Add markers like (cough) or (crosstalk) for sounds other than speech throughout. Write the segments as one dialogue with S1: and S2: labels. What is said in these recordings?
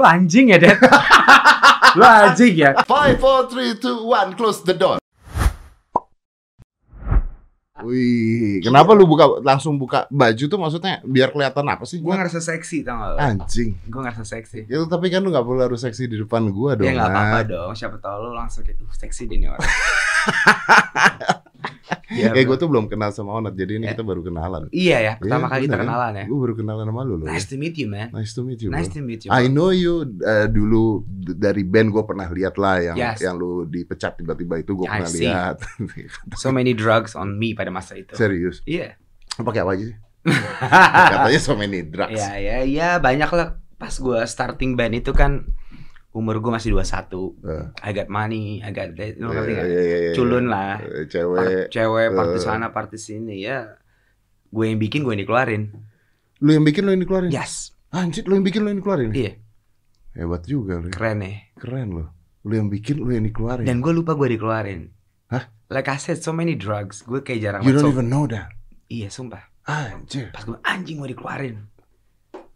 S1: Lu anjing ya, (laughs) Dad? Lu anjing ya?
S2: Five, four, three, two, one, close the door. Wih, kenapa lu buka langsung buka baju tuh maksudnya biar kelihatan apa sih?
S1: Gue ngerasa seksi, tau gak?
S2: anjing.
S1: Gue ngerasa seksi.
S2: Ya tapi kan lu nggak perlu harus seksi di depan gua dong.
S1: Ya nggak apa-apa
S2: Nat.
S1: dong, siapa tahu lu langsung kayak, uh seksi deh nih (laughs) orang. Iya,
S2: Eh
S1: bro.
S2: gua tuh belum kenal sama Onat, jadi ini
S1: Eh.
S2: kita baru kenalan.
S1: Iya ya, pertama
S2: Iya,
S1: kali kita
S2: bener kan?
S1: kenalan ya.
S2: Gua baru kenalan sama lu loh.
S1: Nice to meet you, man.
S2: Nice to meet you.
S1: Nice to
S2: bro.
S1: meet you. bro. Ah,
S2: I know you uh, dulu d- dari band gua pernah lihat lah yang
S1: Yes.
S2: yang lu dipecat tiba-tiba itu gua
S1: I
S2: pernah
S1: see.
S2: lihat. (laughs)
S1: So many drugs on me pada masa itu.
S2: Serius.
S1: (laughs) Iya.
S2: Lu pakai apa aja sih? Katanya so many drugs.
S1: Ah. Iya, ya, ya banyak lah. Pas gue starting band itu kan umur gue masih 21.
S2: Eh.
S1: I got money, I got that. Lu ngerti
S2: Iya,
S1: nggak?
S2: iya, iya, iya.
S1: Culun lah.
S2: Eh,
S1: part
S2: Cewek.
S1: cewek, part di
S2: eh.
S1: sana, part di sini ya. Gue yang bikin, gue yang dikeluarin.
S2: Lu yang bikin lu yang dikeluarin.
S1: Yes,
S2: Anjir, lu yang bikin lu yang dikeluarin.
S1: iya,
S2: Hebat juga lu.
S1: keren nih.
S2: Keren lu. Lu yang bikin lu yang dikeluarin.
S1: Dan gue lupa gue dikeluarin.
S2: Hah?
S1: Like I said, so many drugs. Gue kayak jarang
S2: you don't
S1: masuk.
S2: even know that.
S1: Iya, sumpah.
S2: Anjir.
S1: Pas gue anjing gue dikeluarin.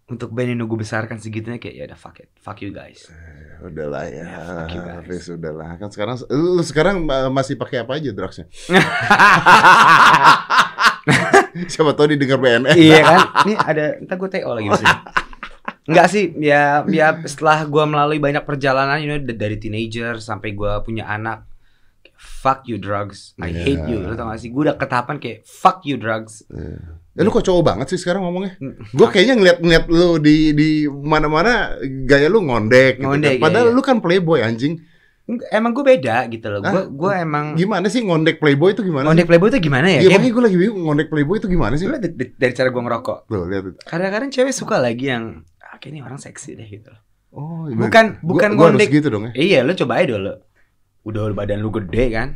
S1: Untuk band yang gue besarkan segitunya kayak ya udah fuck it, fuck you guys.
S2: Eh, Udahlah ya.
S1: Ya, fuck you guys.
S2: Riz, udahlah. Kan sekarang lu sekarang uh, masih pakai apa
S1: (laughs)
S2: aja drugsnya? Siapa tahu didengar BNN.
S1: iya (laughs) kan? Ini ada entar gue TO lagi sih. Enggak sih, ya ya setelah gua melalui banyak perjalanan you know, d- dari teenager sampai gua punya anak. Fuck you drugs. I
S2: Iya.
S1: hate you. Lu tau gak sih? Gua udah ketapan kayak fuck you drugs.
S2: Eh, lu kok cowok banget sih sekarang ngomongnya?
S1: Mm.
S2: Gue kayaknya ngeliat-ngeliat lu di di mana-mana gaya lu ngondek. gitu
S1: Ngondek,
S2: kan. Padahal
S1: iya, iya.
S2: lu kan playboy anjing.
S1: Enggak, Emang gue beda gitu loh. Gua
S2: Hah?
S1: gua emang
S2: Gimana sih ngondek playboy itu gimana?
S1: Hmm. ngondek playboy itu gimana ya?
S2: Iya,
S1: Kayak-
S2: makanya gue lagi bingung ngondek playboy itu gimana sih?
S1: Lu d- d- dari cara gua ngerokok.
S2: Tuh, lihat itu.
S1: Kadang-kadang cewek suka lagi yang ah, kayak ini orang seksi deh gitu. loh.
S2: Oh,
S1: Bukan bukan
S2: gua, gua harus
S1: ngondek.
S2: gitu dong ya.
S1: Iya, lu coba aja dulu. Udah badan lu gede kan?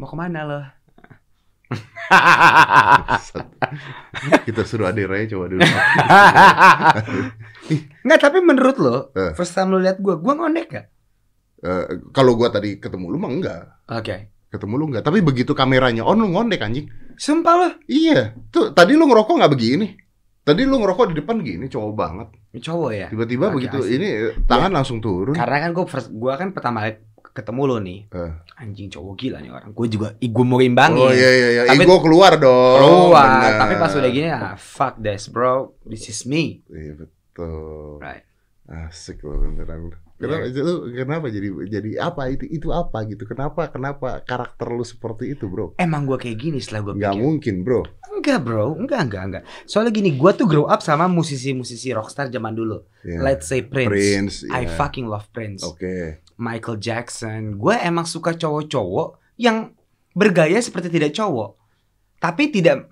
S1: Mau kemana lo? Ah,
S2: Kita suruh Ade Raya coba
S1: (laughs)
S2: dulu.
S1: Nggak, tapi menurut lo,
S2: Eh.
S1: first time lo liat gue, gue ngondek gak?
S2: Eh, kalau gua tadi ketemu lu mah enggak.
S1: Oke.
S2: Ketemu lu enggak, tapi begitu kameranya on lu ngondek anjing.
S1: Sumpah lo.
S2: Iya. Tuh, tadi lu ngerokok nggak begini. Tadi lu ngerokok di depan gini, cowok banget.
S1: Cowok ya?
S2: Tiba-tiba
S1: Oke,
S2: begitu
S1: asik. Iya.
S2: ini eh, tangan langsung turun.
S1: Karena kan gue first, gue kan pertama kali ketemu lo nih.
S2: Eh.
S1: Anjing cowok gila nih orang. Gue juga, ih, gue mau imbangin.
S2: Oh iya Oh, iya iya.
S1: Tapi-
S2: Ego keluar dong.
S1: Keluar.
S2: Bener.
S1: Tapi pas udah gini, ah, fuck this bro. This is me.
S2: Iya betul.
S1: Right.
S2: Asik loh beneran. Kenapa,
S1: Iya.
S2: lu, kenapa jadi jadi apa itu itu apa gitu? Kenapa kenapa karakter lu seperti itu bro?
S1: Emang gue kayak gini setelah gue
S2: Gak
S1: pikir.
S2: mungkin bro.
S1: Enggak bro, enggak, enggak, enggak. Soalnya gini, gue tuh grow up sama musisi-musisi rockstar zaman dulu.
S2: Ya.
S1: Let's say Prince.
S2: Prince,
S1: I
S2: ya.
S1: fucking love Prince.
S2: Oke.
S1: Michael Jackson. Gue emang suka cowok-cowok yang bergaya seperti tidak cowok. Tapi tidak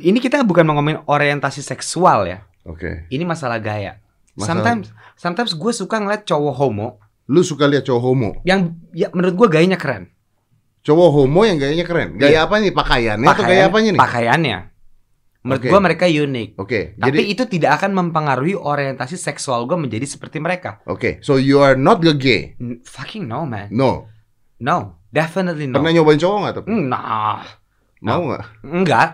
S1: ini kita bukan mau ngomongin orientasi seksual ya.
S2: Oke.
S1: Ini masalah gaya.
S2: Masalah-
S1: Sometimes sometimes gue suka ngeliat cowok homo
S2: Lu suka lihat cowok homo?
S1: yang ya menurut gue gayanya keren.
S2: Cowok homo yang gayanya
S1: Iya.
S2: keren. Gaya apa nih? Pakaiannya atau gaya apanya nih?
S1: Pakaiannya. Menurut
S2: Oke.
S1: gue mereka unik.
S2: Oke.
S1: Tapi
S2: Jadi
S1: itu tidak akan mempengaruhi orientasi seksual gue menjadi seperti mereka.
S2: oke. So you are not a gay.
S1: N- fucking no man.
S2: No.
S1: No. Definitely no.
S2: Pernah nyobain cowok nggak tapi?
S1: Mm, Nah.
S2: Mau nggak?
S1: Enggak.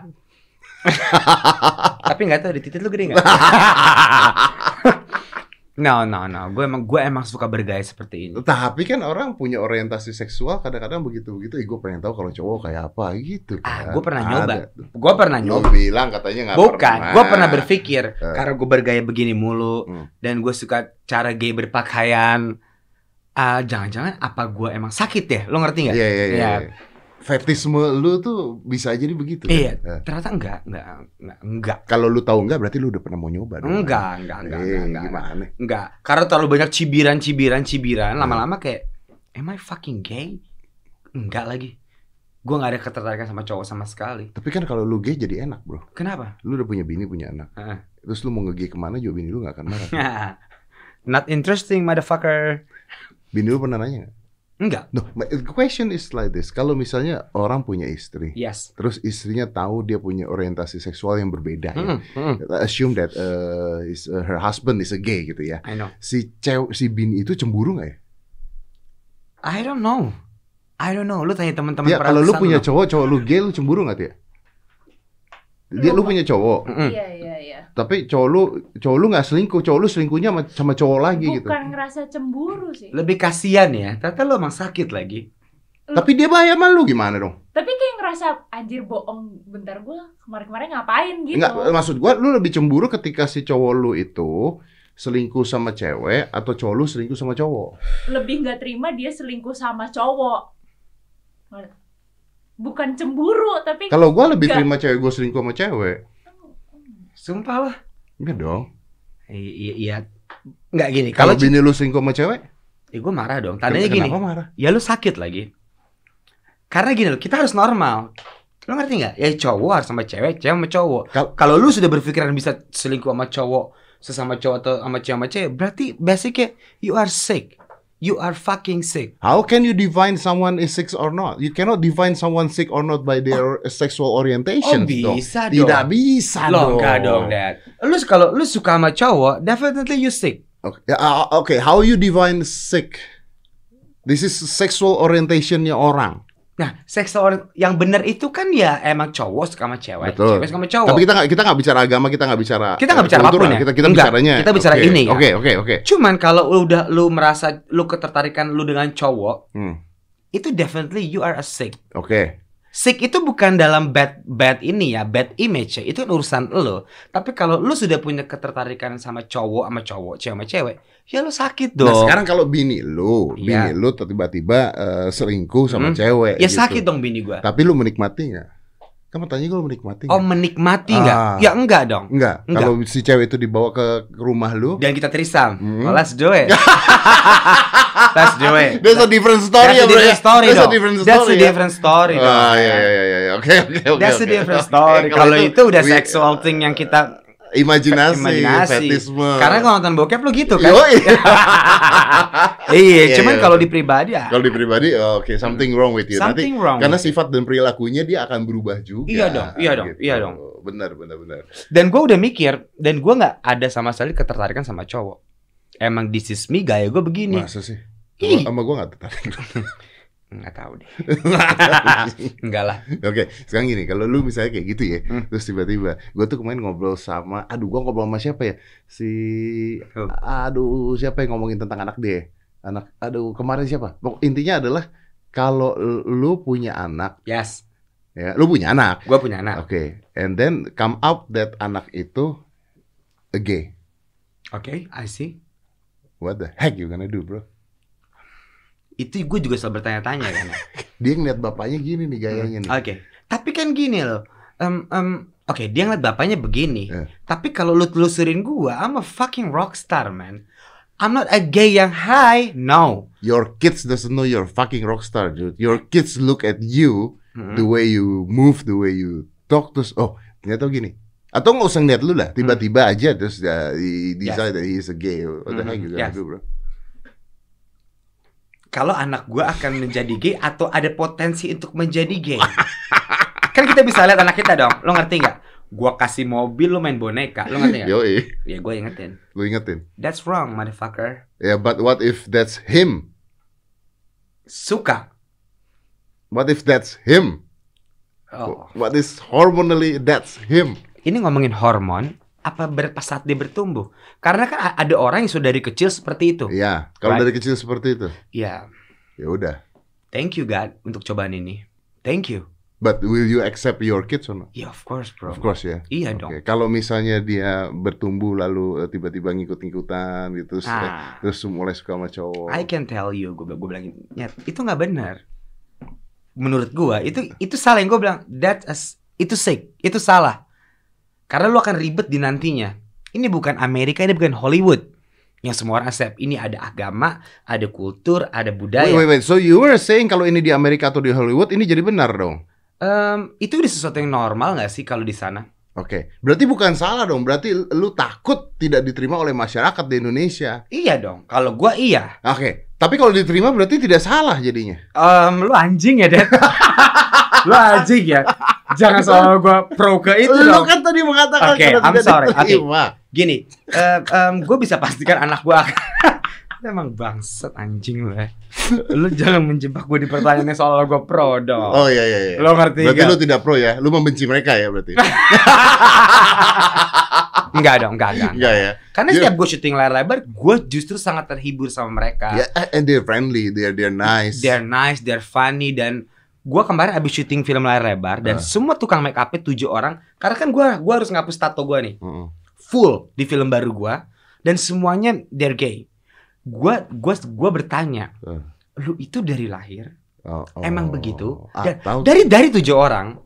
S2: (laughs)
S1: Tapi enggak tahu di titik lu gede enggak? (laughs) no, no, no. Gue emang gue emang suka bergaya seperti ini.
S2: Tapi kan orang punya orientasi seksual kadang-kadang begitu-begitu. Ih, gue pengen tahu kalau cowok kayak apa gitu.
S1: Ah,
S2: kan.
S1: gue pernah nyoba.
S2: Ada.
S1: Gue pernah
S2: Lu
S1: nyoba.
S2: bilang katanya nggak
S1: Bukan,
S2: pernah.
S1: gue pernah berpikir
S2: Eh.
S1: karena gue bergaya begini mulu
S2: Hmm.
S1: dan gue suka cara gay berpakaian. Ah, jangan-jangan apa gue emang sakit ya? Lo ngerti nggak?
S2: Iya iya iya.
S1: Ya.
S2: iya. Fetisme lu tuh bisa jadi begitu. kan?
S1: Iya.
S2: Nah,
S1: Ternyata enggak, enggak, enggak, enggak,
S2: Kalau lu tahu nggak berarti lu udah pernah mau nyoba. dong.
S1: enggak, enggak, enggak,
S2: Eh,
S1: enggak, enggak.
S2: gimana?
S1: Enggak, karena terlalu banyak cibiran, cibiran, cibiran.
S2: Hmm.
S1: Lama-lama kayak, am I fucking gay? Enggak lagi. Gue nggak ada ketertarikan sama cowok sama sekali.
S2: Tapi kan kalau lu gay jadi enak bro.
S1: Kenapa?
S2: Lu udah punya bini punya anak.
S1: Heeh. (laughs)
S2: Terus lu mau nge-gay kemana juga bini lu gak akan marah.
S1: Not interesting, motherfucker.
S2: bini lu pernah nanya gak?
S1: Enggak.
S2: No, my the question is like this. Kalau misalnya orang punya istri.
S1: Yes.
S2: Terus istrinya tahu dia punya orientasi seksual yang berbeda. ya.
S1: Mm-mm, mm-mm.
S2: Assume that uh, is, uh, her husband is a gay gitu ya.
S1: I know.
S2: Si cew si bini itu cemburu gak ya?
S1: I don't know. I don't know. Lu tanya teman-teman
S2: Ya, kalau lu
S1: perawat
S2: punya
S1: sana.
S2: cowok, cowok lu gay, lu cemburu gak dia? Dia lu punya cowok,
S1: Mm-mm.
S3: Iya iya iya.
S2: tapi cowok lu cowok lu nggak selingkuh, cowok lu selingkuhnya sama, sama cowok lagi gitu.
S3: Bukan ngerasa cemburu sih.
S1: Lebih kasihan ya. Ternyata lo emang sakit lagi.
S2: Tapi dia bahaya sama lu gimana dong?
S3: Tapi kayak ngerasa anjir bohong bentar gua kemarin-kemarin ngapain gitu.
S2: Enggak, maksud gua lu lebih cemburu ketika si cowok lu itu selingkuh sama cewek atau cowok lu selingkuh sama cowok.
S3: Lebih nggak terima dia selingkuh sama cowok. Bukan cemburu tapi
S2: Kalau gua lebih
S3: Enggak.
S2: terima cewek gua selingkuh sama cewek.
S1: Sumpah lah.
S2: Iya dong.
S1: I- Iya. iya. Nggak gini.
S2: Kalau
S1: Kalau
S2: bini lu selingkuh sama cewek,
S1: ya gue marah dong. Tandanya
S2: ken-
S1: gini.
S2: Kenapa marah?
S1: Ya lu sakit lagi. Karena gini loh, kita harus normal. Lo ngerti nggak? Ya cowok harus sama cewek, cewek sama cowok.
S2: Kal-
S1: Kalau lu sudah berpikiran bisa selingkuh sama cowok, sesama cowok atau sama cewek sama cewek, berarti basicnya you are sick. You are fucking sick.
S2: How can you define someone is sick or not? You cannot define someone sick or not by their sexual orientation.
S1: Oh, bisa dong.
S2: Tidak bisa
S1: Lo
S2: dong.
S1: enggak dong, Dad. Lu kalau lu suka sama cowok, definitely you sick.
S2: Oke, ya, ah, oke, how you define sick? This is sexual orientationnya orang.
S1: Nah, seksual yang benar itu kan ya emang cowok suka sama cewek,
S2: Betul.
S1: cewek suka sama cowok.
S2: Tapi kita nggak kita nggak bicara agama, kita nggak bicara
S1: Oh. Kita nggak
S2: eh,
S1: bicara
S2: kultural.
S1: apapun ya?
S2: Kita kita
S1: Enggak,
S2: bicaranya.
S1: kita bicara
S2: Oke,
S1: ini ya.
S2: Oke, oke, oke.
S1: Cuman kalau lu udah lu merasa lu ketertarikan lu dengan cowok,
S2: Hmm,
S1: itu definitely you are a sick.
S2: Oke.
S1: Sick itu bukan dalam bad bad ini ya, bad image ya. Itu kan urusan lo. Tapi kalau lu sudah punya ketertarikan sama cowok sama cowok, cewek sama cewek, ya lu sakit dong.
S2: Nah, sekarang kalau bini lu,
S1: Iya.
S2: bini lu tiba-tiba eh, selingkuh sama
S1: Hmm.
S2: cewek
S1: ya
S2: gitu.
S1: sakit dong bini gua.
S2: Tapi lu menikmati nggak? Kamu tanya gue lu menikmati
S1: Oh,
S2: nggak?
S1: menikmati
S2: Ah.
S1: nggak? Ya enggak dong.
S2: Enggak.
S1: Enggak.
S2: Kalau si cewek itu dibawa ke rumah lu,
S1: Dan kita terisam.
S2: Hmm.
S1: Oh, let's do
S2: (laughs)
S1: it. let's do it.
S2: there's a different
S1: That's
S2: story ya,
S1: a
S2: bro. ya.
S1: different story dong.
S2: That's a different
S1: That's
S2: story.
S1: a
S2: ya.
S1: different story dong.
S2: Ah, ya, ya, ya, ya, ya. Oke, oke, oke.
S1: That's a
S2: oke.
S1: different
S2: Oke,
S1: story. Kalau itu udah
S2: we-
S1: sexual thing yang kita
S2: imajinasi,
S1: imajinasi.
S2: fetisme.
S1: Karena kalau nonton bokep lu gitu kan. (laughs)
S2: Yoi.
S1: iya,
S2: Iya,
S1: cuman
S2: iya.
S1: kalau di pribadi ya.
S2: Kalau di pribadi, oh, oke, something wrong with you.
S1: Something
S2: Nanti,
S1: wrong
S2: Karena
S1: with
S2: sifat dan perilakunya dia akan berubah juga. Gitu.
S1: Iya dong, iya dong, iya dong.
S2: Benar, benar, benar.
S1: Dan gue udah mikir dan gue nggak ada sama sekali ketertarikan sama cowok. Emang this is me gaya gue begini.
S2: Masa sih?
S1: Ih.
S2: Sama, sama gue gak tertarik.
S1: Nggak tahu deh.
S2: (laughs)
S1: Enggak lah.
S2: Oke, sekarang gini, kalau lu misalnya kayak gitu ya,
S1: Hmm.
S2: terus tiba-tiba, gue tuh kemarin ngobrol sama, aduh, gue ngobrol sama siapa ya? Si,
S1: Who?
S2: aduh, siapa yang ngomongin tentang anak dia? Anak, aduh, kemarin siapa? Pok- Intinya adalah kalau lu punya anak,
S1: Yes,
S2: ya, lu punya anak,
S1: gue punya anak.
S2: Oke, and then come out that anak itu a gay.
S1: Oke, I see.
S2: What the heck you gonna do, bro?
S1: Itu gue juga selalu bertanya-tanya kan. ya.
S2: Dia ngeliat bapaknya gini nih gayanya nih.
S1: (laughs) Oke. Tapi kan gini loh. Em, em, Oke, dia ngeliat bapaknya begini.
S2: Eh.
S1: Tapi kalau lu telusurin gua, I'm a fucking rockstar, man. I'm not a gay yang high. No.
S2: Your kids doesn't know you're fucking rockstar, dude. Your kids look at you the
S1: Mm-mm.
S2: way you move, the way you talk, terus oh ternyata gini. Atau nggak usah ngeliat lu lah, tiba-tiba
S1: Hmm.
S2: aja terus uh, he decide that he is a gay. What the
S1: Mhm,
S2: heck you gonna
S1: yes.
S2: do, bro?
S1: Kalau anak gua akan menjadi gay atau ada potensi untuk menjadi gay. kan kita bisa lihat anak kita dong. Lo ngerti nggak? Gua kasih mobil, lu main boneka. Lo ngerti nggak?
S2: Yoi, (laughs)
S1: ya gue ingetin.
S2: lu ingetin.
S1: That's wrong, motherfucker.
S2: Ya, but what if that's him?
S1: Suka.
S2: What if that's him?
S1: Oh.
S2: What is hormonally that's him?
S1: ini ngomongin hormon apa ber, pas saat dia bertumbuh karena kan a- ada orang yang sudah dari kecil seperti itu
S2: Iya,
S1: Oh.
S2: kalau
S1: Right.
S2: dari kecil seperti itu.
S1: ya
S2: ya udah.
S1: thank you God untuk cobaan ini thank you
S2: But will you accept your kids or not?
S1: ya of course bro
S2: Of course ya.
S1: iya dong
S2: Oke, Kalau misalnya dia bertumbuh lalu eh, tiba-tiba ngikut-ngikutan gitu terus eh,
S1: ah
S2: terus mulai suka sama cowok.
S1: I can tell you gue gue bilang "Nyet, itu nggak benar menurut gue itu itu salah yang gue bilang that is- itu sick itu salah karena lu akan ribet di nantinya ini bukan Amerika ini bukan Hollywood yang semua orang accept ini ada agama ada kultur ada budaya
S2: Wait, wait, wait. So you were saying kalau ini di Amerika atau di Hollywood ini jadi benar dong.
S1: Em, itu udah sesuatu yang normal nggak sih kalau di sana?
S2: Oke. Berarti bukan salah dong. Berarti lu takut tidak diterima oleh masyarakat di Indonesia.
S1: Iya dong. Kalau gua iya.
S2: Oke. Tapi kalau diterima berarti tidak salah jadinya.
S1: Em, lu anjing ya,
S2: (laughs)
S1: Dad? lu anjing ya? Jangan soal gua pro ke itu
S2: lu
S1: dong.
S2: kan tadi mengatakan
S1: Oke,
S2: kalau
S1: I'm
S2: tidak
S1: sorry. eh,
S2: diterima.
S1: Gini, em, em, gua bisa pastikan anak gua akan (laughs) Lu emang bangsat anjing lu ya. Lu jangan menjebak gue di pertanyaannya soal gue pro dong.
S2: Oh iya iya iya.
S1: Lo ngerti
S2: Berarti
S1: nggak?
S2: lu tidak pro ya? Lu membenci mereka
S1: (laughs)
S2: ya berarti?
S1: Enggak Ah, dong, enggak, enggak.
S2: Enggak ya.
S1: Karena
S2: Dia-
S1: setiap gue syuting layar lebar, gue justru sangat terhibur sama mereka.
S2: Ya and they're friendly, they're they're nice.
S1: They're nice, they're funny dan gue kemarin abis syuting film layar lebar dan
S2: Ah.
S1: semua tukang make upnya tujuh orang. Karena kan gue gua harus ngapus tato gue nih
S2: Mm-mm.
S1: full di film baru gue dan semuanya they're gay. Gue gua gua bertanya,
S2: Ah.
S1: lu itu dari lahir?
S2: Oh, oh.
S1: Emang begitu?
S2: Ah, tahu
S1: Dari dari tujuh orang,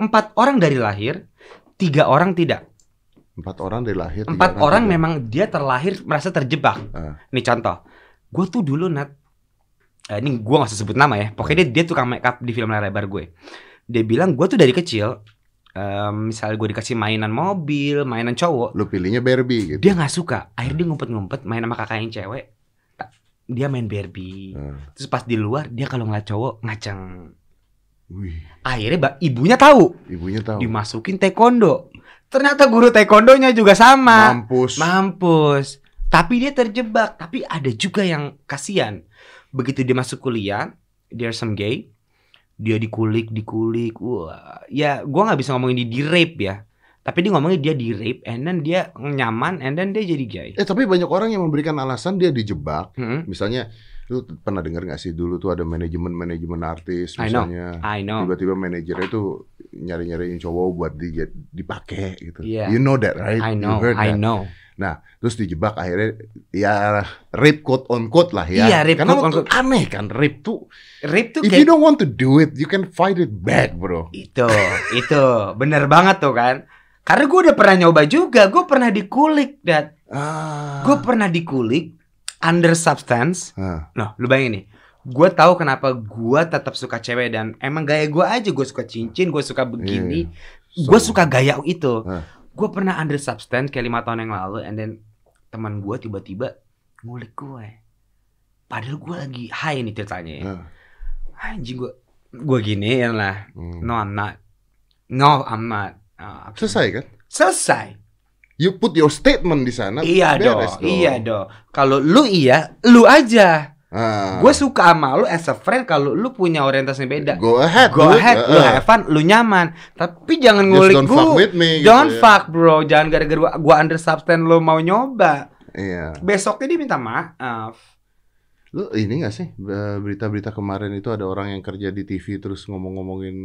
S1: empat orang dari lahir, tiga orang tidak.
S2: empat orang dari lahir. tiga
S1: Empat orang
S2: tidak.
S1: memang dia terlahir merasa terjebak.
S2: Ah.
S1: Nih contoh, gue tuh dulu nat, eh, ini gue gak usah sebut nama ya. Pokoknya dia,
S2: Hmm.
S1: dia tukang make up di film layar lebar gue. Dia bilang gue tuh dari kecil, eh, misalnya gue dikasih mainan mobil, mainan cowok,
S2: Lu pilihnya Barbie gitu.
S1: dia nggak suka. Akhirnya dia ngumpet-ngumpet main sama kakaknya yang cewek. Ta- Dia main Barbie.
S2: Ah.
S1: Terus pas di luar dia kalau ngeliat cowok ngaceng.
S2: Wih,
S1: Akhirnya ba- ibunya tahu,
S2: ibunya tahu.
S1: dimasukin taekwondo. Ternyata guru taekwondonya juga sama.
S2: Mampus.
S1: Mampus. Tapi dia terjebak. Tapi ada juga yang kasihan. Begitu dia masuk kuliah, there's some gay. Dia dikulik, dikulik. Wah, ya gua nggak bisa ngomongin dia di rape ya. Tapi dia ngomongin dia di rape, and then dia nyaman, and then dia jadi gay. Hmm.
S2: Eh tapi banyak orang yang memberikan alasan dia dijebak.
S1: Mm-mm.
S2: Misalnya lu pernah dengar nggak sih dulu tuh ada manajemen-manajemen artis
S1: I know.
S2: misalnya
S1: I know.
S2: tiba-tiba manajernya tuh nyari-nyariin cowok buat di, dipakai gitu.
S1: Iya.
S2: You know that right?
S1: I
S2: You
S1: know.
S2: heard
S1: I
S2: that.
S1: know.
S2: Terus dijebak akhirnya ya rape quote on quote lah ya.
S1: Iya, rape
S2: Karena
S1: quote on
S2: waktu aneh kan rape tuh.
S1: Rape tuh
S2: If
S1: kayak
S2: you don't want to do it, you can fight it back, bro.
S1: itu, itu bener banget tuh kan. Karena gue udah pernah nyoba juga. Gue pernah dikulik, dat.
S2: Ah.
S1: Gue pernah dikulik under substance.
S2: Ah.
S1: Loh, lu bayangin nih. Gue tahu kenapa gue tetap suka cewek dan emang gaya gue aja gue suka cincin, gue suka begini,
S2: Iya, So-
S1: gue suka gaya itu.
S2: Ah.
S1: Gue pernah under substance kayak lima tahun yang lalu, and then teman gue tiba-tiba ngulik gue. Padahal gue lagi high nih ceritanya. ya.
S2: Ah.
S1: Anjing gue, gue giniin lah.
S2: Hmm.
S1: No I'm not. No I'm not. Ah, oke.
S2: Selesai kan?
S1: Selesai.
S2: You put your statement di sana.
S1: Iya dong,
S2: beres
S1: iya dong. Kalau lu iya, lu aja.
S2: Ah.
S1: Gue suka sama lu as a friend kalau lu punya orientasi yang beda.
S2: Go ahead.
S1: Go
S2: dude.
S1: ahead, lu
S2: Iya, Ah.
S1: have fun, lu nyaman. Tapi jangan
S2: Just
S1: ngulik
S2: don't
S1: gue.
S2: fuck with me. gitu
S1: Don't
S2: ya.
S1: fuck bro, jangan gara-gara gua, gua under substance lu mau nyoba.
S2: Iya.
S1: Besoknya dia minta maaf.
S2: Lu ini gak sih eh, berita-berita kemarin itu ada orang yang kerja di TV terus ngomong-ngomongin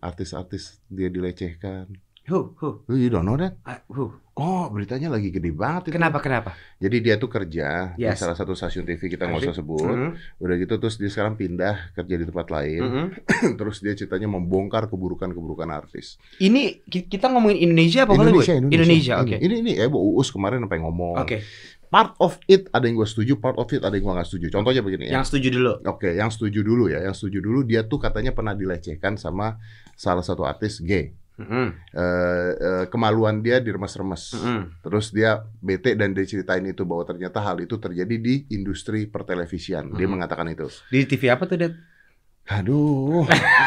S2: artis-artis dia dilecehkan.
S1: Huh, huh,
S2: Lu you don't know that?
S1: ah, huh.
S2: Oh, beritanya lagi gede banget itu.
S1: Kenapa kenapa?
S2: Jadi dia tuh kerja di
S1: Yes. Mm-hmm.
S2: salah satu stasiun TV kita nggak usah sebut.
S1: Mm-mm,
S2: Udah gitu terus dia sekarang pindah kerja di tempat lain.
S1: mm-mm.
S2: (laughs) terus dia ceritanya membongkar keburukan-keburukan artis.
S1: Ini ki- kita ngomongin Indonesia apa kalau gue? Indonesia, oke.
S2: Ini ini ya Bu Uus kemarin apa yang ngomong.
S1: Oke,
S2: Part of it ada yang gue setuju, part of it ada yang gue nggak setuju. Contohnya begini ya.
S1: yang setuju dulu.
S2: Oke, yang setuju dulu ya. Yang setuju dulu dia tuh katanya pernah dilecehkan sama salah satu artis gay.
S1: Mm-mm,
S2: Eh, eh, kemaluan dia diremes-remes.
S1: mm-mm.
S2: Terus dia bete dan dia ceritain itu bahwa ternyata hal itu terjadi di industri pertelevisian. Dia
S1: Hmm.
S2: mengatakan itu.
S1: Di TV apa tuh, Dad?
S2: Aduh,
S1: (laughs)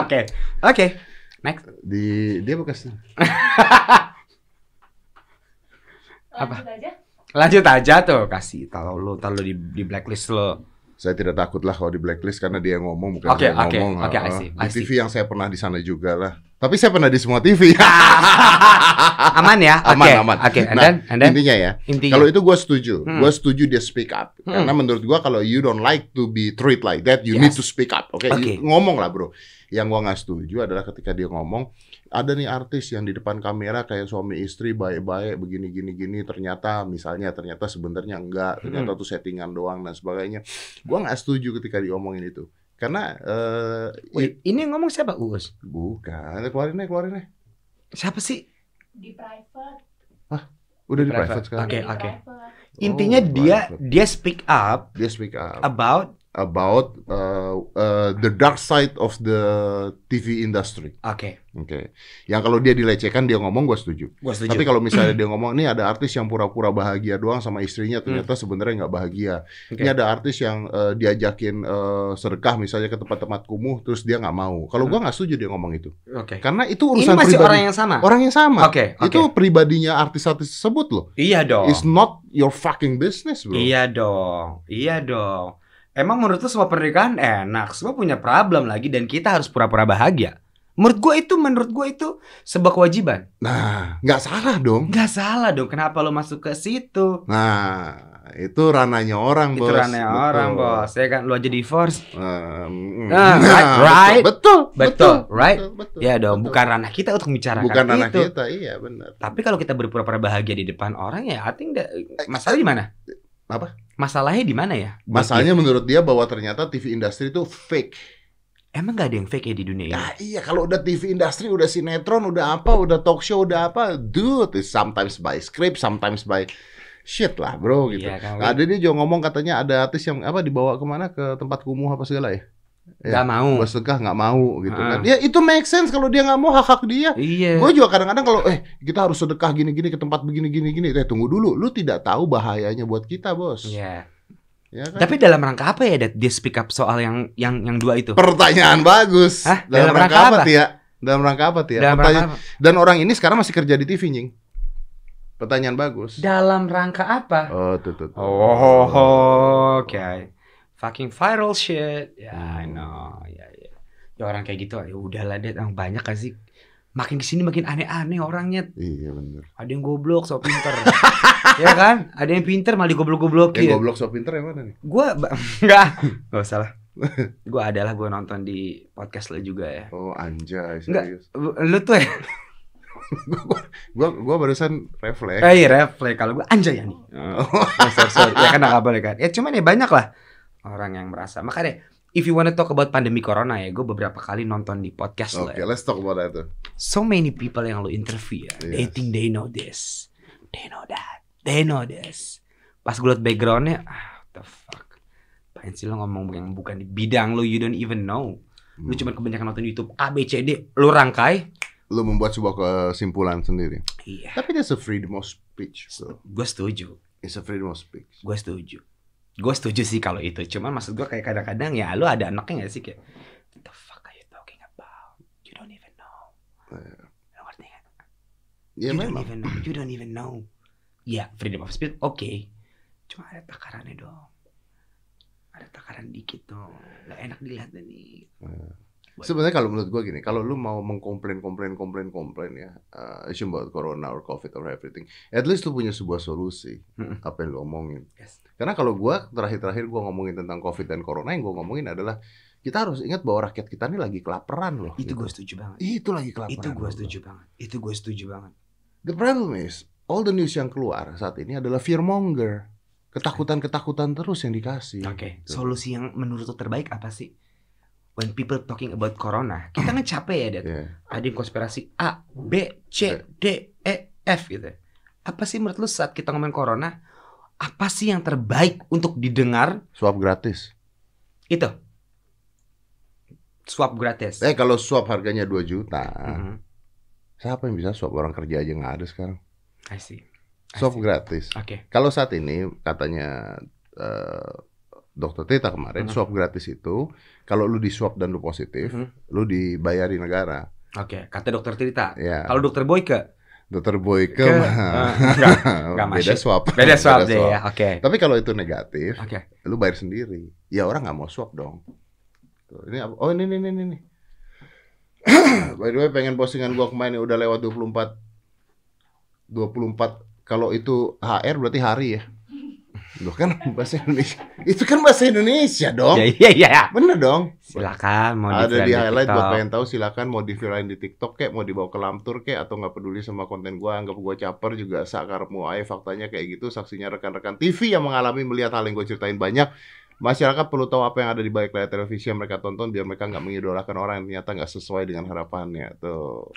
S1: Oke. Oke.
S2: di dia bekas
S1: Apa?
S3: Lanjut aja.
S1: Lanjut aja tuh, kasih tahu lu, tahu lu di, di blacklist lo.
S2: saya tidak takut lah kalau di blacklist karena dia yang ngomong bukan
S1: Oke,
S2: saya
S1: oke,
S2: yang ngomong.
S1: oke,
S2: Ah,
S1: I see,
S2: Di
S1: I see.
S2: TV yang saya pernah di sana juga lah. Tapi saya pernah di semua (laughs) TV.
S1: (laughs) aman ya?
S2: Aman,
S1: Oke,
S2: aman.
S1: Oke, and
S2: Nah,
S1: then, and then
S2: Intinya ya,
S1: intinya.
S2: kalau itu gue setuju.
S1: Iya. Hmm.
S2: Gue setuju dia speak up.
S1: Hmm.
S2: Karena menurut gue kalau you don't like to be treated like that, you
S1: Yes.
S2: need to speak up. Oke,
S1: Oke.
S2: You- ngomong lah bro. Yang gue nggak setuju adalah ketika dia ngomong, ada nih artis yang di depan kamera kayak suami istri baik-baik begini gini gini. Ternyata misalnya ternyata sebenarnya enggak.
S1: Hmm.
S2: Ternyata tuh settingan doang dan sebagainya. Gue nggak setuju ketika diomongin itu. Karena eh,
S1: Wait, ini yang ngomong siapa? Uus.
S2: Bukan, keluarin deh, keluarin deh.
S1: Siapa sih?
S3: Di private.
S2: Udah di
S1: Private.
S2: private sekarang.
S1: Oke,
S3: Di
S1: oke.
S3: private.
S1: Oh, Intinya
S2: Oh,
S1: dia
S2: private.
S1: dia speak up
S2: Dia speak up.
S1: about
S2: about uh, uh, the dark side of the TV industry.
S1: Oke,
S2: Oke. Yang kalau dia dilecehkan dia ngomong gua setuju.
S1: gua setuju.
S2: Tapi kalau misalnya dia ngomong nih ada artis yang pura-pura bahagia doang sama istrinya ternyata sebenarnya nggak bahagia.
S1: Hmm. Oke.
S2: Ini ada artis yang eh, diajakin eh, sedekah misalnya ke tempat-tempat kumuh terus dia nggak mau. Kalau
S1: Hmm.
S2: gua nggak setuju dia ngomong itu.
S1: Oke.
S2: Karena itu
S1: Ini
S2: urusan
S1: masih
S2: pribadi.
S1: orang yang sama.
S2: Orang yang sama.
S1: Oke, oke.
S2: Itu pribadinya artis-artis tersebut loh.
S1: Iya dong.
S2: It's not your fucking business, bro.
S1: Iya dong. Iya dong. Emang menurut lu semua pernikahan enak, semua punya problem lagi dan kita harus pura-pura bahagia. Menurut gua itu, menurut gua itu sebuah kewajiban.
S2: Nah, nggak salah dong.
S1: Nggak salah dong. Kenapa lu masuk ke situ?
S2: Nah, itu ranahnya orang,
S1: Itu
S2: bos.
S1: ranahnya
S2: Betul.
S1: orang bos. Ya kan, lu aja divorce.
S2: Um,
S1: Ah, right, right.
S2: Betul, betul,
S1: Betul, right?
S2: betul, betul,
S1: Ya dong.
S2: betul.
S1: Bukan ranah kita untuk membicarakan
S2: bukan ranah
S1: itu.
S2: kita, iya benar.
S1: Tapi kalau kita berpura-pura bahagia di depan orang ya, I think that- masalah di mana?
S2: Apa?
S1: Masalahnya di mana ya? Buat
S2: Masalahnya menurut dia bahwa ternyata TV industri itu fake.
S1: dia. emang gak ada yang fake ya di dunia ini.
S2: Ya iya, kalau udah TV industri, udah sinetron, udah apa, udah talk show, udah apa, dude, it's sometimes by script, sometimes by shit lah, bro gitu.
S1: Iya kan?
S2: Nah, ada dia juga ngomong katanya ada artis yang apa dibawa kemana ke tempat kumuh apa segala ya.
S1: Gak mau.
S2: Bos Tegah nggak mau gitu
S1: Hmm. Ah.
S2: kan. Ya itu make sense kalau dia nggak mau hak hak dia.
S1: Iya.
S2: Gue juga kadang-kadang kalau eh kita harus sedekah gini-gini ke tempat begini-gini-gini. Eh tunggu dulu, lu tidak tahu bahayanya buat kita bos.
S1: Iya.
S2: Ya kan?
S1: Tapi dalam rangka apa ya Dad, dia speak up soal yang yang yang dua itu?
S2: Pertanyaan bagus.
S1: Hah?
S2: Dalam,
S1: Dalam
S2: rangka,
S1: rangka
S2: apa,
S1: apa?
S2: Tia? Dalam rangka apa Tia?
S1: dalam
S2: Iya, Pertanyaan-
S1: rangka apa?
S2: Dan orang ini sekarang masih kerja di TV nying. Pertanyaan bagus.
S1: Dalam rangka apa?
S2: Oh tuh tuh. tuh.
S1: Oh, oke. Fucking viral shit. Ya, I know. Ya, ya. Ya orang kayak gitu, ya udahlah deh, orang banyak kan sih. Makin kesini makin aneh-aneh orangnya.
S2: Iya bener.
S1: Ada yang goblok, so
S2: (laughs)
S1: pinter. ya kan? Ada yang pinter malah
S2: Yang
S1: digoblok-goblokin.
S2: Eh, goblok so pinter yang mana nih?
S1: Gue (laughs) enggak, enggak usah lah. Gue adalah gue nonton di podcast lo juga ya.
S2: Oh anjay
S1: Nggak.
S2: serius.
S1: Lu tuh ya.
S2: Gua gua barusan ya. refleks.
S1: Eh, refleks kalau gue anjay ya nih. Oh, sorry, sorry. Ya kan nggak boleh kan. Ya cuman ya banyak lah orang yang merasa. Makanya if you wanna talk about pandemi corona ya, gue beberapa kali nonton di podcast lo.
S2: Oke,
S1: Ya.
S2: let's talk about that. tuh.
S1: So many people yang lo interview ya, they
S2: Yes.
S1: think they know this, they know that, they know this. Pas gue liat backgroundnya, ah, what the fuck. Pengen sih lo ngomong yang bukan di bidang lo, you don't even know. Lu
S2: Hmm.
S1: cuma kebanyakan nonton YouTube A, B, C, D, lo rangkai.
S2: lu membuat sebuah kesimpulan sendiri.
S1: Iya,
S2: Tapi there's a freedom of speech, bro.
S1: gue setuju.
S2: It's a freedom of speech.
S1: Gue setuju. Gue setuju sih kalau itu. Cuman maksud gue kayak kadang-kadang ya lu ada anaknya gak sih kayak What the fuck are you talking about? You don't even know. Lu ngerti nggak?
S2: Ya
S1: you don't
S2: memang.
S1: even know. You don't even know. Ya, freedom of speech oke. Cuma ada takarannya dong. Ada takaran dikit dong. Gak enak dilihat nih.
S2: Sebenarnya kalau menurut gua gini, kalau lu mau mengkomplain, komplain, komplain, komplain ya, uh, issue about corona or covid or everything, at least lu punya sebuah solusi
S1: Mm-mm.
S2: apa yang lu omongin.
S1: Yes.
S2: Karena kalau gua terakhir-terakhir gua ngomongin tentang covid dan corona yang gua ngomongin adalah kita harus ingat bahwa rakyat kita ini lagi kelaparan loh.
S1: Itu
S2: gitu.
S1: gue setuju banget.
S2: Itu lagi kelaparan.
S1: Itu gue
S2: loh.
S1: setuju banget. Itu gue setuju banget.
S2: The problem is, all the news yang keluar saat ini adalah fear monger. Ketakutan-ketakutan terus yang dikasih.
S1: Oke,
S2: Gitu.
S1: solusi yang menurut lo terbaik apa sih? When people talking about corona, kita kan capek ya, Dad.
S2: Iya.
S1: ada yang konspirasi A, B, C, D, E, F gitu. Apa sih menurut lu saat kita ngomongin corona, apa sih yang terbaik untuk didengar?
S2: Swab gratis.
S1: Itu. Swab gratis.
S2: Eh kalau swab harganya 2 juta,
S1: Mhm.
S2: siapa yang bisa swab orang kerja aja nggak ada sekarang?
S1: I see. I
S2: Swab
S1: see.
S2: gratis.
S1: Oke.
S2: Kalau saat ini katanya eh, dokter Tita kemarin
S1: Mhm.
S2: swab gratis itu kalau lu di swab dan lu positif,
S1: Mhm.
S2: lu dibayari negara.
S1: Oke, kata dokter Tirta.
S2: Ya.
S1: Kalau dokter Boyke,
S2: dokter Boyke
S1: ke-
S2: mah,
S1: eh, enggak. nggak
S2: (laughs) beda
S1: masih.
S2: swab.
S1: beda swab deh ya. Oke.
S2: Tapi kalau itu negatif,
S1: Oke.
S2: lu bayar sendiri. Ya orang nggak mau swab dong. Tuh, Ini apa? oh ini ini ini (clears throat) ini. By the way pengen postingan gua kemarin udah lewat 24 24 kalau itu HR berarti hari ya. Loh kan bahasa Indonesia. Itu kan bahasa
S1: Ya
S2: Indonesia dong.
S1: iya iya.
S2: Bener dong.
S1: Silakan mau
S2: Ada di
S1: di-friend
S2: highlight buat
S1: TikTok.
S2: pengen tahu silakan mau di viralin di TikTok kayak mau dibawa ke Lamtur kayak atau nggak peduli sama konten gua anggap gua caper juga sakarmu aja faktanya kayak gitu saksinya rekan-rekan TV yang mengalami melihat hal yang gue ceritain banyak masyarakat perlu tahu apa yang ada di balik layar televisi yang mereka tonton biar mereka nggak mengidolakan orang yang ternyata nggak sesuai dengan harapannya tuh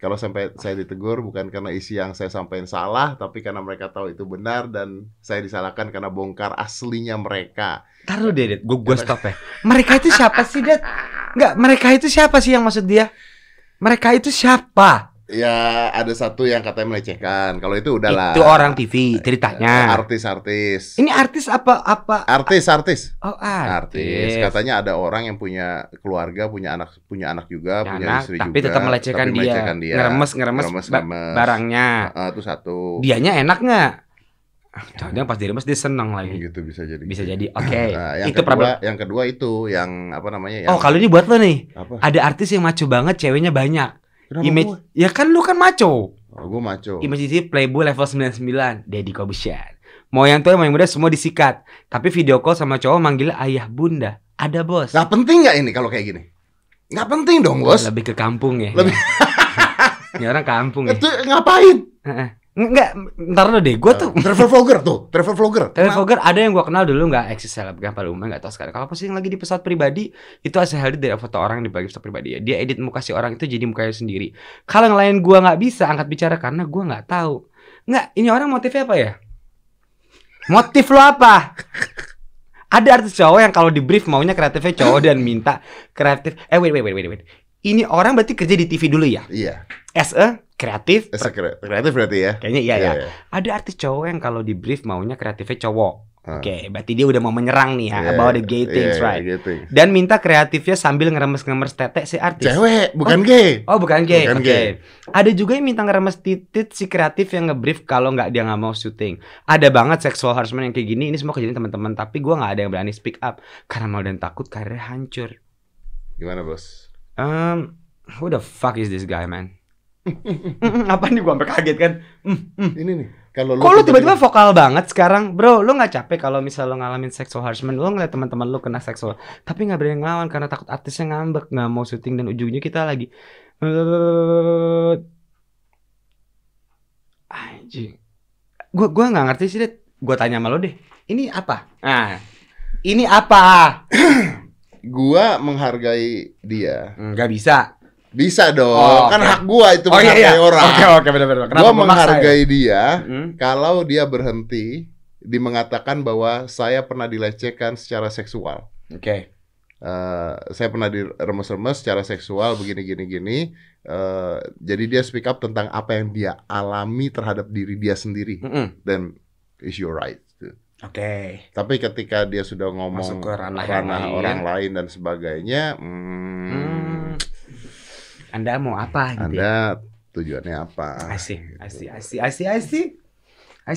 S2: Kalau sampai saya ditegur bukan karena isi yang saya sampaikan salah, tapi karena mereka tahu itu benar dan saya disalahkan karena bongkar aslinya mereka.
S1: Ntar lu deh, Det. Gua, gua stop ya. Mereka itu siapa sih, Det? Enggak, mereka itu siapa sih yang maksud dia? Mereka itu siapa?
S2: Ya ada satu yang katanya melecehkan. Kalau itu udahlah.
S1: Itu orang TV ceritanya.
S2: Artis-artis.
S1: Ini artis apa apa?
S2: Artis-artis.
S1: Oh, artis.
S2: artis. Katanya ada orang yang punya keluarga, punya anak, punya anak juga, punya,
S1: Anak,
S2: istri
S1: tapi
S2: juga.
S1: tetap melecehkan,
S2: tapi melecehkan dia.
S1: Ngeremes, ngeremes,
S2: Ngeremes,
S1: ba-
S2: ngeremes.
S1: barangnya.
S2: Heeh, itu satu.
S1: Dianya enak nggak? Ah, Jangan-jangan pas diremes dia seneng lagi.
S2: Gitu bisa jadi.
S1: Bisa
S2: gitu.
S1: jadi. Oke.
S2: Nah, yang
S1: itu
S2: kedua,
S1: problem.
S2: yang kedua itu yang apa namanya? Yang,
S1: Oh, kalau ini buat lo nih.
S2: apa?
S1: Ada artis yang maco banget, ceweknya banyak.
S2: Kenapa
S1: Image,
S2: gua?
S1: ya kan lu kan maco.
S2: Oh, gua maco.
S1: Image di Playboy level 99, Deddy Corbuzier. Mau yang tua, mau yang muda, semua disikat. Tapi video call sama cowok manggil ayah bunda. Ada bos.
S2: Nah, penting nggak ini kalau kayak gini? Nggak penting dong, bos.
S1: Lebih ke kampung ya.
S2: Lebih-
S1: (laughs) Ini orang kampung ya.
S2: Itu ngapain?
S1: Enggak, ntar dulu deh. Gue tuh
S2: travel vlogger tuh, travel vlogger.
S1: Tapi Vogel ada yang gua kenal dulu nggak eksis selebgram pada umumnya nggak tahu sekarang. Kalau posting lagi di pesawat pribadi itu asal dari foto orang di bagi pesawat pribadi ya. Dia edit muka si orang itu jadi mukanya sendiri. Kalau yang lain gua nggak bisa angkat bicara karena gua nggak tahu. Nggak, ini orang motifnya apa ya? Motif lo apa? Ada artis cowok yang kalau di brief maunya kreatifnya cowok dan minta kreatif. Eh wait wait wait wait wait. Ini orang berarti kerja di TV dulu ya?
S2: Iya,
S1: As a kreatif?
S2: as a kre- kreatif berarti ya.
S1: Kayaknya iya ya.
S2: Iya,
S1: Ada artis cowok yang kalau di brief maunya kreatifnya cowok.
S2: Ah.
S1: Oke, berarti dia udah mau menyerang nih ya
S2: Iya,
S1: about the gay things,
S2: iya,
S1: right?
S2: gitu.
S1: Dan minta kreatifnya sambil ngeremes-ngeremes tetek si artis.
S2: Cewek, bukan gay.
S1: Oh, bukan gay.
S2: Bukan
S1: Oke.
S2: gay.
S1: Ada juga yang minta ngeremes titit si kreatif yang ngebrief kalau nggak dia nggak mau syuting. Ada banget sexual harassment yang kayak gini. Ini semua kejadian teman-teman, tapi gua nggak ada yang berani speak up karena mau dan takut karirnya hancur.
S2: Gimana, bos?
S1: Um, who the fuck is this guy,
S2: (laughs)
S1: man? Mm, mm, Apa nih gua sampai kaget kan?
S2: Ini nih, kalau
S1: Kok lu tiba-tiba vokal banget sekarang? Bro, lu nggak capek kalau misal lu ngalamin sexual harassment, lu ngeliat teman-teman lu kena seksual, tapi nggak berani ngelawan karena takut artisnya ngambek, nggak mau syuting dan ujungnya kita lagi eh, anjing. Gua gua nggak ngerti sih, Dit. Gua tanya sama lu deh. Ini apa? Ah. Ini apa?
S2: gua menghargai dia.
S1: Nggak bisa.
S2: Bisa dong,
S1: Oh,
S2: kan
S1: oke.
S2: hak gua itu menghargai orang.
S1: Oke, oke, benar-benar.
S2: gua menghargai dia
S1: ya? Hmm?
S2: kalau dia berhenti di mengatakan bahwa saya pernah dilecehkan secara seksual.
S1: Oke.
S2: Eh, saya pernah diremes-remes secara seksual begini gini gini. Eh, jadi dia speak up tentang apa yang dia alami terhadap diri dia sendiri
S1: Mm-mm.
S2: dan is your right.
S1: Oke.
S2: Tapi ketika dia sudah ngomong
S1: Masuk ke ranah yang
S2: ranah
S1: lain.
S2: orang lain dan sebagainya, hmm,
S1: Hmm. Anda mau apa gitu ya?
S2: Anda tujuannya apa?
S1: I see, I
S2: Nah,
S1: see,
S2: gitu.
S1: I see, I see, I see,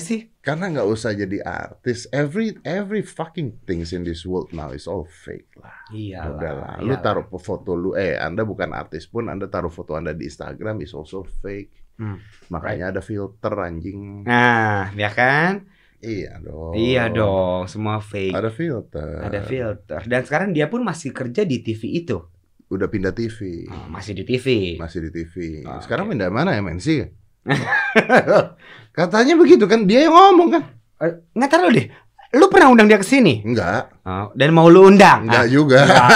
S1: I see.
S2: Karena nggak usah jadi artis. Every every fucking things in this world now is all fake lah.
S1: Iyalah.
S2: Udahlah. Lu
S1: iyalah.
S2: taruh foto lu, eh Anda bukan artis pun, Anda taruh foto Anda di Instagram is also fake.
S1: Hmm.
S2: Makanya ada filter anjing.
S1: Nah, ya kan?
S2: Iya dong.
S1: Iya dong, semua fake.
S2: Ada filter.
S1: Ada filter. Dan sekarang dia pun masih kerja di TV itu.
S2: Udah pindah TV.
S1: Oh, masih di TV.
S2: Masih di TV.
S1: Ah,
S2: Sekarang
S1: oke.
S2: pindah mana MNC?
S1: (laughs)
S2: Katanya begitu kan dia yang ngomong kan?
S1: Eh, Nggak taruh deh. Lu pernah undang dia ke sini?
S2: Enggak,
S1: Oh, dan mau lu undang?
S2: enggak
S1: Ah,
S2: juga.
S1: enggak.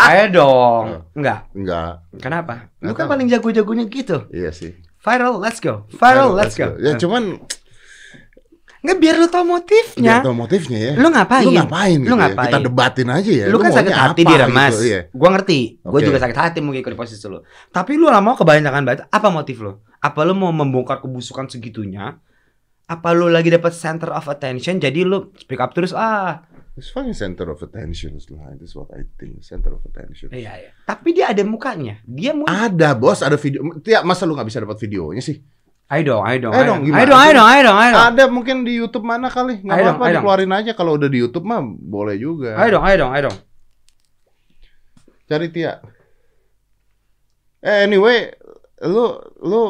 S1: Ayo dong. Enggak.
S2: (laughs) Enggak.
S1: Kenapa? Lu
S2: Nggak
S1: kan
S2: tahu.
S1: paling jago-jagonya gitu.
S2: Iya sih.
S1: Viral, let's go. Viral, let's go. Ah.
S2: Ya cuman
S1: Nggak biar lu tau
S2: Biar
S1: motifnya.
S2: tahu motifnya ya.
S1: Lu ngapain?
S2: Lu ngapain?
S1: Lu
S2: gitu ya?
S1: ngapain?
S2: Kita debatin aja ya.
S1: lu kan
S2: maunya
S1: sakit hati
S2: apa
S1: diremas.
S2: gitu, iya.
S1: Gua ngerti. Gua
S2: Oke.
S1: juga sakit hati mungkin kalau di posisi lu. Tapi lu lama kebanyakan banget. Apa motif lu? Apa lu mau membongkar kebusukan segitunya? Apa lu lagi dapat center of attention? Jadi lu speak up terus ah.
S2: It's fucking center of attention lah. That's what I think. Center of attention.
S1: Iya, iya. Tapi dia ada mukanya. Dia mau
S2: Ada bos, ada video. Tiap masa lu nggak bisa dapat videonya sih?
S1: Ayo dong, ayo dong.
S2: Ayo dong,
S1: Ayo
S2: gimana
S1: dong, ayo
S2: sih?
S1: dong, ayo dong, ayo dong.
S2: Ada mungkin di YouTube mana kali? Nggak
S1: Ayo dong,
S2: apa-apa
S1: ayo dong.
S2: dikeluarin aja kalau udah di YouTube mah boleh juga.
S1: Ayo dong, ayo dong, ayo dong.
S2: Cari Tia. Eh anyway, lu lu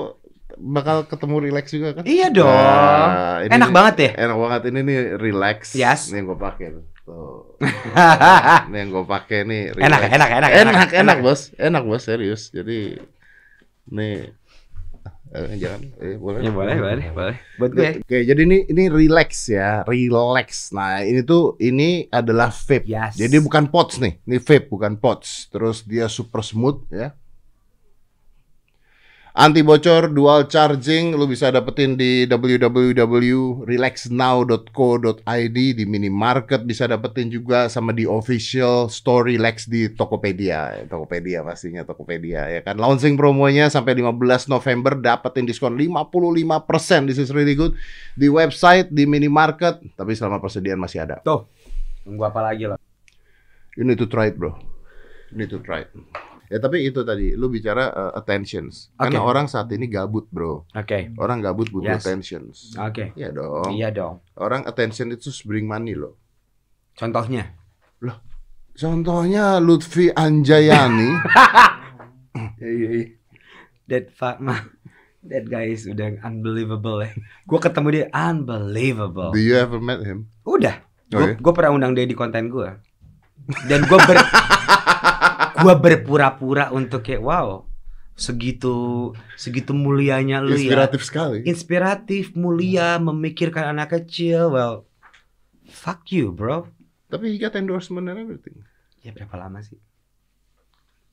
S2: bakal ketemu relax juga kan?
S1: Iya dong.
S2: Nah, ini
S1: Enak
S2: nih-
S1: banget ya.
S2: Enak banget ini nih relax.
S1: Yes.
S2: Ini yang gue pakai
S1: (laughs)
S2: tuh. ini yang gue pakai nih. relax.
S1: enak, ya? enak, enak,
S2: Ah. enak, enak, bos, enak bos serius. Jadi nih eh, jangan, eh, boleh.
S1: Ya boleh, boleh, boleh. Buat gue.
S2: Oke, jadi ini ini relax ya, relax. Nah, ini tuh ini adalah vape.
S1: Yes.
S2: Jadi bukan pods nih, ini vape bukan pods. Terus dia super smooth ya. Anti bocor dual charging lu bisa dapetin di www.relaxnow.co.id di minimarket bisa dapetin juga sama di official store Relax di Tokopedia. Tokopedia pastinya Tokopedia ya kan. Launching promonya sampai 15 November dapetin diskon 55%. This is really good di website, di minimarket, tapi selama persediaan masih ada.
S1: Nunggu apa lagi lo?
S2: You need to try it, bro. You need to try it. Ya tapi itu tadi lu bicara uh, attentions. Karena
S1: Oke.
S2: orang saat ini gabut, bro.
S1: Oke.
S2: Orang gabut butuh
S1: Yes.
S2: attentions.
S1: Oke.
S2: Iya dong.
S1: Iya dong.
S2: Orang attention itu bring money loh.
S1: Contohnya.
S2: Contohnya Lutfi
S1: (laughs)
S2: Anjayani.
S1: Iya, That Fatma. That guy is udah unbelievable ya. Gue ketemu dia unbelievable.
S2: Do you ever met him?
S1: Udah. Gue
S2: Oh, iya?
S1: pernah undang dia di konten gue. Dan gue
S2: (laughs)
S1: ber gua berpura-pura untuk kayak wow segitu segitu mulianya lu ya.
S2: Inspiratif sekali.
S1: Inspiratif, mulia, memikirkan anak kecil. Well, fuck you, bro.
S2: Tapi he got endorsement and everything.
S1: Ya berapa lama sih?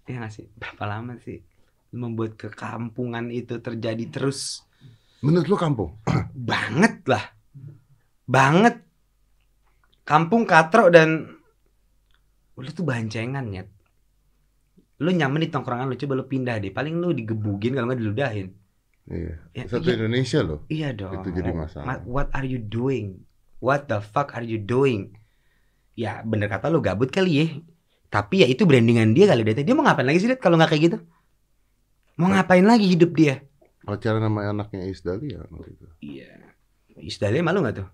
S1: Ya nggak sih? Berapa lama sih? Membuat kekampungan itu terjadi terus
S2: Menurut lu kampung?
S1: banget lah. Banget. Kampung katro dan lu tuh bancengan ya. Lu nyaman di tongkrongan lu coba lu pindah deh. Paling lu digebugin kalau nggak diludahin.
S2: Iya.
S1: Ya, iya,
S2: Satu Indonesia loh.
S1: iya dong.
S2: Itu jadi masalah.
S1: Ma- What are you doing? What the fuck are you doing? Ya bener kata lu gabut kali ya. Tapi ya itu brandingan dia kali Dit. Dia mau ngapain lagi sih Dit, kalau nggak kayak gitu? Mau
S2: Iya.
S1: ngapain lagi hidup dia?
S2: Pacaran sama anaknya Is Dahlia waktu itu.
S1: Iya. Istilahnya malu nggak tuh?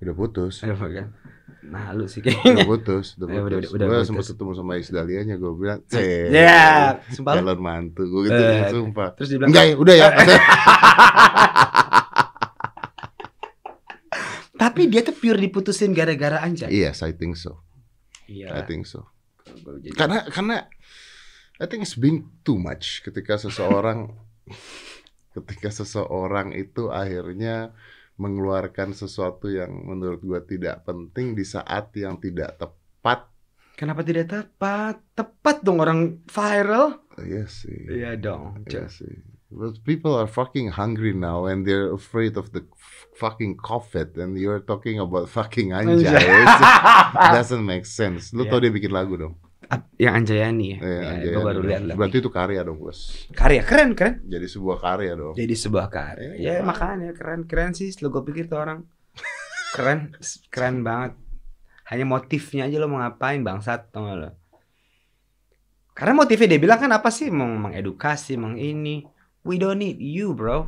S2: Udah putus.
S1: Aduh, kan? Malu sih
S2: Udah
S1: kayaknya.
S2: putus, udah
S1: Ya,
S2: putus.
S1: udah, udah, udah
S2: gue
S1: putus.
S2: sempat ketemu sama Isdalianya, gue bilang, "Ceh,
S1: Ya, sumpah lu.
S2: calon mantu." Gue gitu,
S1: Eh,
S2: sumpah.
S1: Terus dia bilang,
S2: Enggak ya, udah ya.
S1: tapi dia tuh pure diputusin gara-gara anjay.
S2: (laughs) yes, I think so. I
S1: Iya.
S2: think so.
S1: Baru jadi-
S2: Karena, karena, I think it's being too much ketika
S1: (laughs)
S2: seseorang, ketika seseorang itu akhirnya mengeluarkan sesuatu yang menurut gue tidak penting di saat yang tidak tepat.
S1: Kenapa tidak tepat? Tepat dong orang viral.
S2: Iya sih.
S1: Iya dong.
S2: Yeah, see. But people are fucking hungry now and they're afraid of the f- fucking COVID and you're talking about fucking anjay. It doesn't make sense. Lu tau dia bikin lagu dong.
S1: Ap- yang Anjayani ya.
S2: Eh,
S1: Ya,
S2: Anjay
S1: gua baru
S2: Adrian.
S1: lihat lah.
S2: Berarti itu karya dong, Bos.
S1: Karya keren keren.
S2: Jadi sebuah karya dong.
S1: Jadi sebuah karya.
S2: Iya.
S1: Ya makanya keren keren sih. Lo gue pikir tuh (laughs) orang keren s- keren banget. Hanya motifnya aja lo mau ngapain bangsat tau gak lo? Karena motifnya dia bilang kan apa sih mau mengedukasi, meng ini. We don't need you, bro.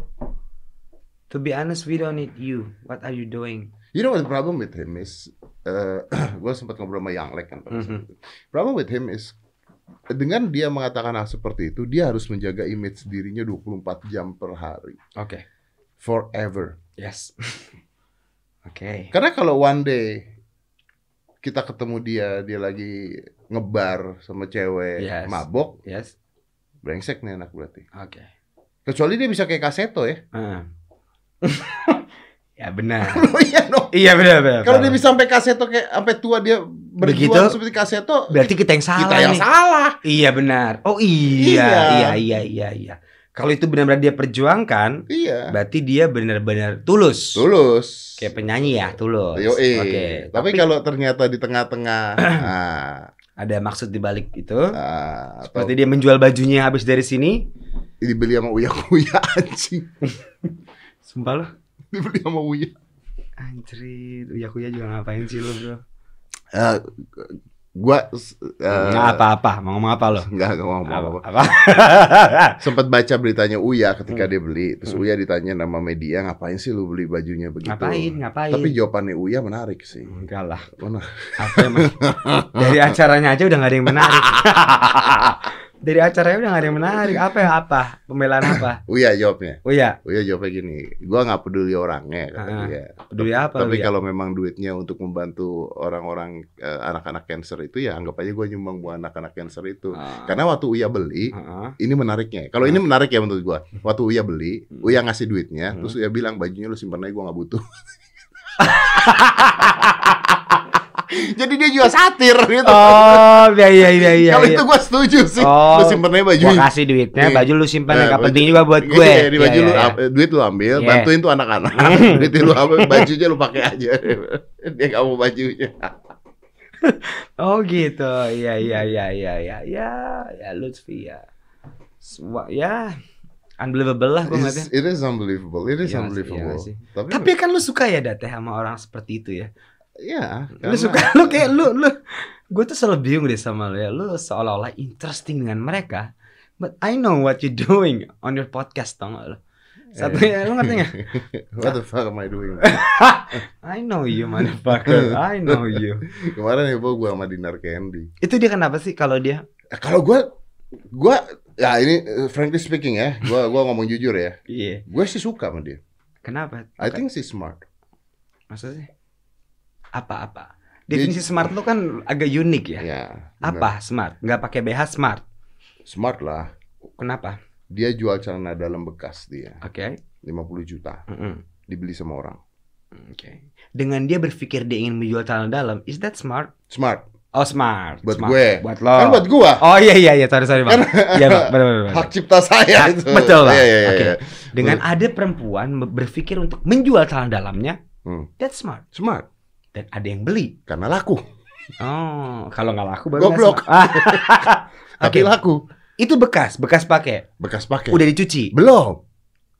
S1: To be honest, we don't need you. What are you doing?
S2: You know what the problem with him is eh (clears throat) gue sempat ngobrol sama Yang Lek kan pada saat
S1: Mhm.
S2: itu. Problem with him is dengan dia mengatakan hal seperti itu, dia harus menjaga image dirinya 24 jam per hari.
S1: Oke.
S2: Forever.
S1: Yes. (laughs) Oke.
S2: Karena kalau one day kita ketemu dia, dia lagi ngebar sama cewek
S1: Yes.
S2: mabok,
S1: Yes.
S2: brengsek nih anak berarti.
S1: Oke.
S2: Kecuali dia bisa kayak kaseto ya.
S1: Ah. (laughs) ya benar.
S2: (laughs) Oh iya dong.
S1: (laughs)
S2: Nah.
S1: iya benar benar.
S2: Kalau dia bisa sampai kaseto kayak sampai tua dia berjuang
S1: Begitu?
S2: seperti kaseto,
S1: Berarti kita yang salah
S2: kita yang
S1: nih.
S2: salah.
S1: Iya benar. Oh
S2: Iya.
S1: iya, iya, iya, iya, iya. Kalau itu benar-benar dia perjuangkan,
S2: Iya.
S1: berarti dia benar-benar tulus.
S2: Tulus.
S1: Kayak penyanyi ya, tulus.
S2: Yo, eh.
S1: Oke.
S2: Tapi,
S1: Tapi,
S2: kalau ternyata di (clears throat) tengah-tengah ah,
S1: ada maksud di balik itu.
S2: ah, atau
S1: Seperti dia menjual bajunya habis dari sini.
S2: dibeli sama (laughs) uya-uya anjing.
S1: Sumpah lo.
S2: Dibeli sama uya.
S1: Anjrit, uya kuya juga ngapain sih lo, Bro?
S2: Eh, gua eh,
S1: Nggak apa-apa, mau ngomong apa lo?
S2: Enggak, enggak mau ngomong apa.
S1: Apa?
S2: Sempat baca beritanya Uya ketika
S1: Hmm.
S2: dia beli. Terus
S1: Hmm.
S2: Uya ditanya nama media, ngapain sih lu beli bajunya begitu?
S1: ngapain, ngapain? Hmm.
S2: Tapi jawabannya Uya menarik sih.
S1: Enggak lah.
S2: Mana?
S1: Apa emang? Dari acaranya aja udah nggak ada yang menarik. Dari acaranya udah nggak ada yang menarik. Apa ya apa? Pembelaan apa?
S2: (laughs) Uya jawabnya.
S1: (coughs) Oh iya,
S2: Uya jawabnya gini, gua nggak peduli orangnya kata
S1: Ah,
S2: dia.
S1: peduli apa lu
S2: Tapi
S1: ya?
S2: kalau memang duitnya untuk membantu orang-orang eh, anak-anak cancer itu ya anggap aja gua nyumbang buat anak-anak cancer itu.
S1: Ah.
S2: Karena waktu Uya beli,
S1: Heeh.
S2: ini menariknya. Kalau ini menarik ya menurut gua. Waktu Uya beli, Uya ngasih duitnya,
S1: Nah. Hmm.
S2: terus
S1: (laughs)
S2: Uya bilang bajunya lu simpen aja gua nggak butuh. Jadi dia juga satir gitu.
S1: Oh, iya iya iya iya.
S2: Kalau
S1: iya.
S2: itu gua setuju sih.
S1: Oh.
S2: Lu simpennya baju.
S1: Gua kasih duitnya,
S2: Iya.
S1: baju lu simpan
S2: Iya,
S1: yang
S2: baju-
S1: penting juga buat gue.
S2: Iya, di
S1: Iya,
S2: baju
S1: iya,
S2: lu
S1: iya.
S2: am- duit lu ambil,
S1: Iya. Hmm.
S2: bantuin tuh anak-anak. (laughs) duit lu ambil, bajunya lu pakai aja. (laughs) dia nggak mau bajunya.
S1: Oh gitu, iya iya iya iya iya ya ya Lutfi ya, semua ya unbelievable lah gue ngeliatnya.
S2: It's- It is unbelievable. It
S1: Iya nggak sih,
S2: is
S1: iya
S2: unbelievable.
S1: nggak sih?
S2: Tapi,
S1: Tapi kan lu suka ya Date sama orang seperti itu ya.
S2: ya.
S1: Lu
S2: karena-
S1: suka lu kayak lu lu gue tuh selalu bingung deh sama lu ya. Lu seolah-olah interesting dengan mereka. But I know what you doing on your podcast tau gak lu. Satu
S2: Eh.
S1: ya, lu ngerti gak?
S2: (laughs) What the fuck am I doing?
S1: I know you motherfucker,
S2: (laughs)
S1: I know you.
S2: Kemarin heboh gua sama Dinar Candy.
S1: Itu dia kenapa sih kalau dia?
S2: Eh, Kalau gua gua ya ini eh, frankly speaking ya, gua gua ngomong jujur ya.
S1: Iya.
S2: Gue sih suka sama dia.
S1: Kenapa?
S2: I think she's smart.
S1: maksudnya apa-apa
S2: Dia-
S1: definisi smart lu kan agak unik ya
S2: Ya. bener.
S1: apa smart nggak pakai BH smart
S2: Smart lah.
S1: kenapa
S2: Dia jual celana dalam bekas dia,
S1: oke
S2: 50 juta,
S1: Mm-mm.
S2: dibeli sama orang.
S1: oke dengan dia berpikir dia ingin menjual celana dalam is that smart
S2: Smart.
S1: oh smart
S2: Buat
S1: Smart.
S2: gue.
S1: buat lo
S2: Kan buat gua
S1: oh iya iya iya sorry sorry bang iya bang benar benar benar.
S2: Kan hak cipta
S1: Hak-
S2: saya itu.
S1: betul, Pak.
S2: Iya iya iya,
S1: Oke.
S2: iya.
S1: dengan ada perempuan berpikir untuk menjual celana dalamnya
S2: Hmm.
S1: that's smart
S2: Smart
S1: dan ada yang beli
S2: karena laku.
S1: oh kalau nggak laku baru nggak
S2: Goblok.
S1: smart.
S2: (laughs)
S1: Ah.
S2: Tapi
S1: Oke.
S2: laku.
S1: itu bekas bekas pakai
S2: Bekas pakai.
S1: udah dicuci
S2: Belum.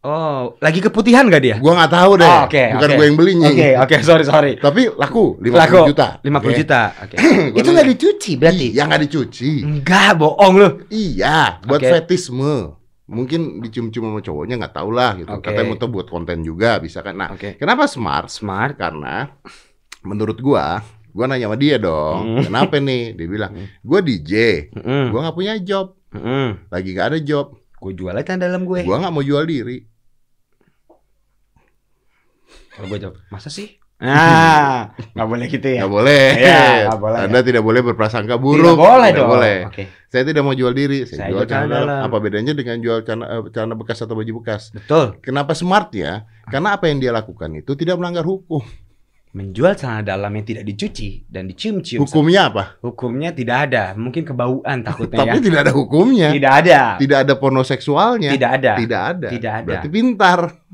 S1: oh lagi keputihan gak dia
S2: Gua nggak tahu deh.
S1: Oh, oke,
S2: Bukan
S1: oke.
S2: gua yang belinya.
S1: Oke, oke, sorry, sorry.
S2: Tapi laku 50
S1: Laku.
S2: juta.
S1: 50
S2: Oke.
S1: juta. Oke.
S2: (clears throat) Gua
S1: itu
S2: nanya.
S1: nggak dicuci berarti?
S2: Iya nggak dicuci.
S1: Enggak, bohong lu.
S2: Iya, buat
S1: Oke.
S2: fetisme. Mungkin dicium-cium sama cowoknya nggak tahu lah gitu.
S1: Oke.
S2: Katanya mau buat konten juga bisa kan. Nah,
S1: Oke.
S2: kenapa smart?
S1: Smart.
S2: Karena menurut gua, gua nanya sama dia dong.
S1: Hmm.
S2: Kenapa nih? Dia bilang,
S1: Hmm.
S2: gua DJ,
S1: Heeh.
S2: gua nggak punya job,
S1: Heeh.
S2: lagi nggak ada job,
S1: Gue jual aja celana dalam gue.
S2: gua nggak mau jual diri.
S1: Kalau gue jawab, masa
S2: (laughs)
S1: sih? Ah, nggak boleh gitu ya.
S2: Nggak boleh.
S1: Iya, nggak boleh.
S2: Anda tidak boleh berprasangka
S1: Tidak
S2: buruk.
S1: boleh
S2: Tidak
S1: dong.
S2: boleh.
S1: Oke.
S2: Saya tidak mau jual diri. Saya,
S1: Saya
S2: jual
S1: jual
S2: celana
S1: celana
S2: dalam.
S1: dalam.
S2: Apa bedanya dengan jual celana, eh, celana bekas atau baju bekas?
S1: Betul.
S2: Kenapa smart ya? Karena apa yang dia lakukan itu tidak melanggar hukum.
S1: Menjual celana dalam yang tidak dicuci dan dicium-cium.
S2: Hukumnya apa?
S1: Hukumnya tidak ada. Mungkin (laughs) kebauan takutnya ya.
S2: Tapi tidak ada hukumnya. Tidak,
S1: Tidak ada.
S2: ada pornoseksualnya.
S1: Tidak ada.
S2: Tidak ada.
S1: Tidak ada.
S2: Berarti pintar. (laughs)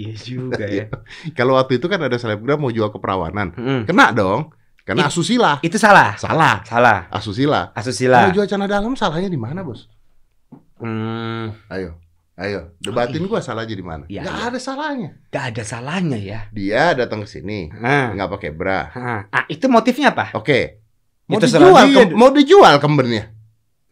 S1: Iya juga ya.
S2: Kalau waktu itu kan ada selebgram mau jual keperawanan.
S1: Heeh.
S2: Kena dong. Karena
S1: It-
S2: asusila.
S1: Itu salah.
S2: Salah.
S1: Salah.
S2: Asusila. Kalau
S1: Asusila.
S2: jual celana dalam salahnya di mana, Bos?
S1: Hmm,
S2: Ayo. Ayo, debatin gua salahnya di mana?
S1: Iya,
S2: Nggak
S1: iya.
S2: ada salahnya.
S1: nggak ada salahnya ya.
S2: Dia datang ke sini
S1: Ah,
S2: nggak pakai bra.
S1: ah, ah, itu motifnya apa?
S2: Oke. Mau
S1: Itu
S2: dijual,
S1: serah dia.
S2: kem- mau dijual kembennya.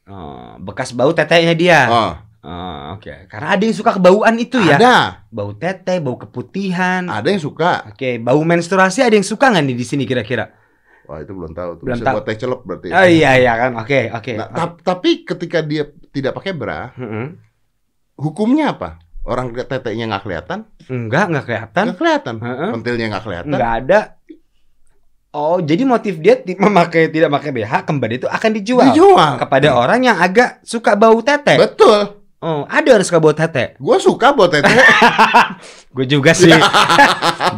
S1: Oh, bekas bau tetenya dia. Oh,
S2: Oh,
S1: oke. Karena ada yang suka kebauan itu ya.
S2: Ada,
S1: Bau tete, bau keputihan.
S2: ada yang suka.
S1: Oke, bau menstruasi ada yang suka nggak nih di sini kira-kira?
S2: Wah, itu belum tahu tuh.
S1: Belum
S2: Bisa
S1: tahu.
S2: buat teh celup berarti.
S1: Oh
S2: ya?
S1: iya iya kan. Oke, oke.
S2: Nah, tap- tapi ketika dia tidak pakai bra,
S1: Heeh.
S2: hukumnya apa? Orang teteknya nggak kelihatan,
S1: Enggak, enggak kelihatan.
S2: nggak kelihatan.
S1: Kan? Heeh.
S2: Pentilnya nggak kelihatan.
S1: Enggak ada. Oh, jadi motif dia ti- memakai tidak pakai BH kembali itu akan dijual,
S2: Dijual. Nah,
S1: kepada orang yang agak suka bau tete.
S2: Betul.
S1: Oh, ada orang suka bau tete.
S2: Gue suka buat tete,
S1: (laughs) Gue juga
S2: (laughs)
S1: sih.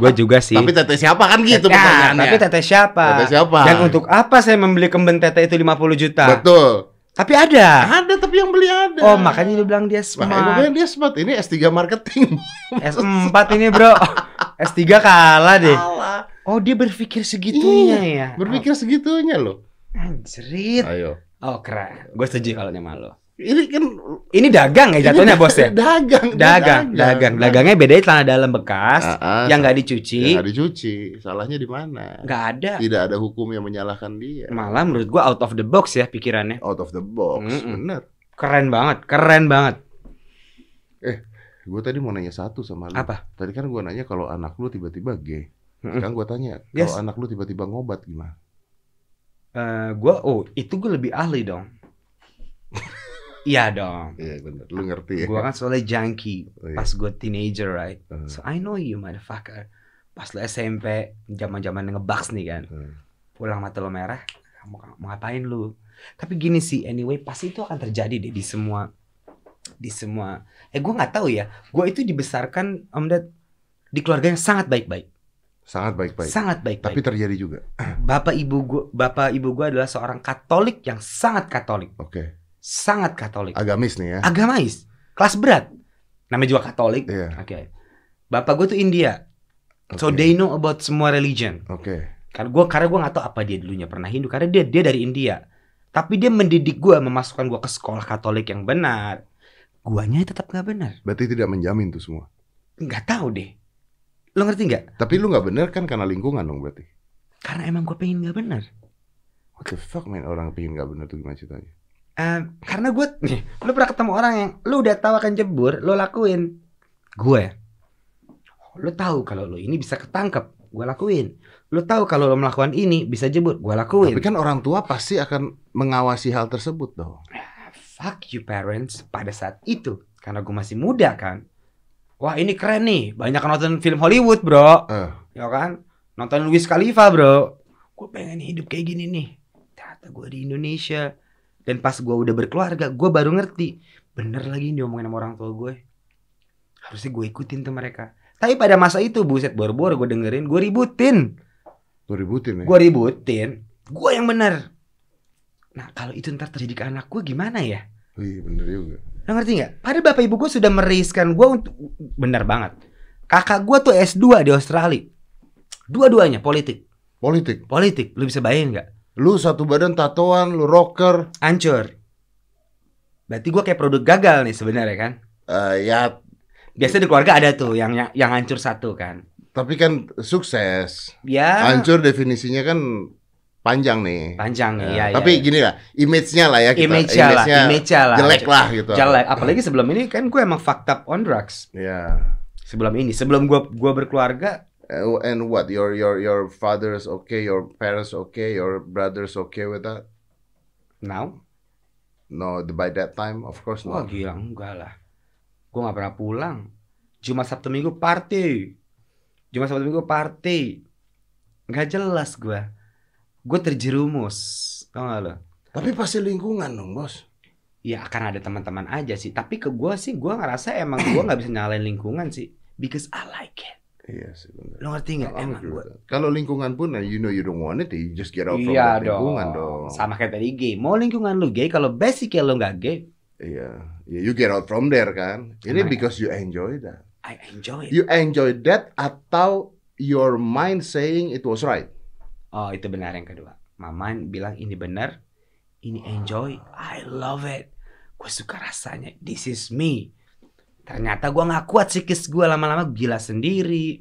S1: Gue juga sih.
S2: tapi tete siapa kan gitu
S1: Nah,
S2: pertanyaannya.
S1: Tapi tete siapa?
S2: Tete siapa?
S1: Dan untuk apa saya membeli kemben tete itu 50 juta?
S2: Betul.
S1: Tapi ada.
S2: Ada tapi yang beli ada.
S1: Nah. Oh, makanya dia bilang dia
S2: Makanya gua
S1: smart.
S2: bilang dia smart. Ini S3 marketing.
S1: (laughs) S4 ini,
S2: (laughs)
S1: Bro. S3 kalah deh.
S2: Salah.
S1: Oh, dia berpikir segitunya ya.
S2: Iya, Berpikir segitunya loh.
S1: anjrit.
S2: Ayo.
S1: Oh, keren. Gue setuju kalau sama lo.
S2: Ini kan
S1: Ini dagang ya jatuhnya, Bos (laughs) ya.
S2: (laughs) Dagang, dia
S1: Dagang, dagang. Dagangnya bedanya celana dalam bekas
S2: Ah, ah,
S1: yang nggak
S2: yang
S1: dicuci,
S2: nggak dicuci. Salahnya di mana?
S1: nggak ada.
S2: Tidak ada hukum yang menyalahkan dia.
S1: Malah menurut gua out of the box ya pikirannya.
S2: Out of the box.
S1: Mm-mm.
S2: Bener.
S1: Keren banget, keren banget.
S2: Gue tadi mau nanya satu sama lu.
S1: Apa?
S2: Tadi kan gue nanya kalau anak lu tiba-tiba gay.
S1: Mm-mm.
S2: Sekarang gue tanya,
S1: Yes.
S2: kalau anak lu tiba-tiba ngobat gimana?
S1: Eh, gua oh itu gue lebih ahli
S2: (laughs)
S1: dong. Iya dong.
S2: Iya bener. Lu ngerti ya?
S1: Gua kan soalnya junkie
S2: Oh, iya.
S1: pas gue teenager right.
S2: Hmm.
S1: So I know you motherfucker. Pas lu SMP zaman-zaman ngebaks nih kan.
S2: Hmm.
S1: Pulang mata lu merah, mau, mau ngapain lu? Tapi gini sih anyway pasti itu akan terjadi deh di semua di semua. Eh gua nggak tahu ya. Gua itu dibesarkan Om Ded di keluarga yang sangat baik-baik.
S2: Sangat baik-baik.
S1: sangat baik
S2: Tapi terjadi juga.
S1: bapak ibu gua bapak ibu gua adalah seorang Katolik yang sangat Katolik
S2: Oke.
S1: sangat Katolik
S2: Agamis nih ya.
S1: agamais kelas berat namanya juga Katolik
S2: Iya.
S1: oke bapak gue tuh India so
S2: Oke.
S1: they know about semua religion
S2: Oke.
S1: karena gue Kan karena gue nggak tahu apa dia dulunya pernah Hindu karena dia dia dari India tapi dia mendidik gue memasukkan gue ke sekolah Katolik yang benar guanya tetap nggak benar
S2: Berarti tidak menjamin tuh semua.
S1: nggak tahu deh lo ngerti nggak
S2: Tapi lu nggak bener kan karena lingkungan dong berarti.
S1: karena emang gue pengen nggak benar
S2: What the fuck man orang pengen nggak bener tuh gimana ceritanya?
S1: Eh, karena gue nih lo pernah ketemu orang yang lo udah tahu akan jebur lo lakuin gue lo tahu kalau lo ini bisa ketangkep gue lakuin lo tahu kalau lo melakukan ini bisa jebur gue lakuin
S2: Tapi kan orang tua pasti akan mengawasi hal tersebut dong.
S1: fuck you parents pada saat itu karena gue masih muda kan wah ini keren nih banyak yang nonton film Hollywood bro
S2: Eh.
S1: ya kan nonton Wiz Khalifa bro gue pengen hidup kayak gini nih ternyata gue di Indonesia dan pas gue udah berkeluarga gue baru ngerti bener lagi ini diomongin sama orang tua gue harusnya gue ikutin tuh mereka tapi pada masa itu buset bor-bor gue dengerin gue ributin
S2: Lu ributin ya.
S1: gue ributin gue yang bener nah kalau itu ntar terjadi ke anak gue gimana ya
S2: Wih bener juga.
S1: Lo ngerti nggak? Pada bapak ibu gue sudah meriskan gue untuk benar banget. Kakak gue tuh S2 di Australia. Dua-duanya politik.
S2: Politik.
S1: Politik. Lu bisa bayangin nggak?
S2: Lu satu badan tatoan, lu rocker.
S1: Hancur. Berarti gue kayak produk gagal nih sebenarnya kan.
S2: Eh, ya
S1: Biasanya di keluarga ada tuh yang yang, yang hancur satu kan.
S2: tapi kan sukses.
S1: Ya
S2: Hancur definisinya kan panjang nih.
S1: panjang
S2: Eh,
S1: ya.
S2: tapi gini lah, image-nya lah ya kita.
S1: image-nya lah,
S2: image-nya
S1: image-nya lah.
S2: jelek lah gitu.
S1: Jelek. Apalagi sebelum ini kan gue emang fucked up on drugs.
S2: Ya.
S1: Sebelum ini, sebelum gue gua berkeluarga,
S2: And- Eh, And what? Your your your father's okay, your parents okay, your brothers okay with that?
S1: now,
S2: No, the- by that time of course
S1: wah
S2: not.
S1: gila enggak lah. Gue nggak pernah pulang. Jumat Sabtu Minggu party. Jumat Sabtu Minggu party. Nggak jelas gue. Gue terjerumus. Tau gak lo?
S2: Tapi pasti lingkungan dong, Bos.
S1: Ya akan ada teman-teman aja sih. Tapi ke gue sih, gue ngerasa emang gue nggak bisa nyalain lingkungan sih. Because I like it.
S2: Iya sih benar.
S1: Lo ngerti nggak? Emang gue.
S2: Kalau lingkungan pun nah, you know you don't want it, you just get out from
S1: Iya
S2: that
S1: dong.
S2: lingkungan dong.
S1: Sama kayak tadi gay. Mau lingkungan lu gay, kalau basicnya lu nggak gay,
S2: Iya. Yeah, you get out from there kan. Ini
S1: Emang ya?
S2: because you enjoy that.
S1: I enjoy it.
S2: You enjoy that atau your mind saying it was right.
S1: Oh itu benar yang kedua. Maman bilang ini benar, ini enjoy, I love it. Gue suka rasanya, this is me. Ternyata gua nggak kuat psikis gue lama-lama gila sendiri.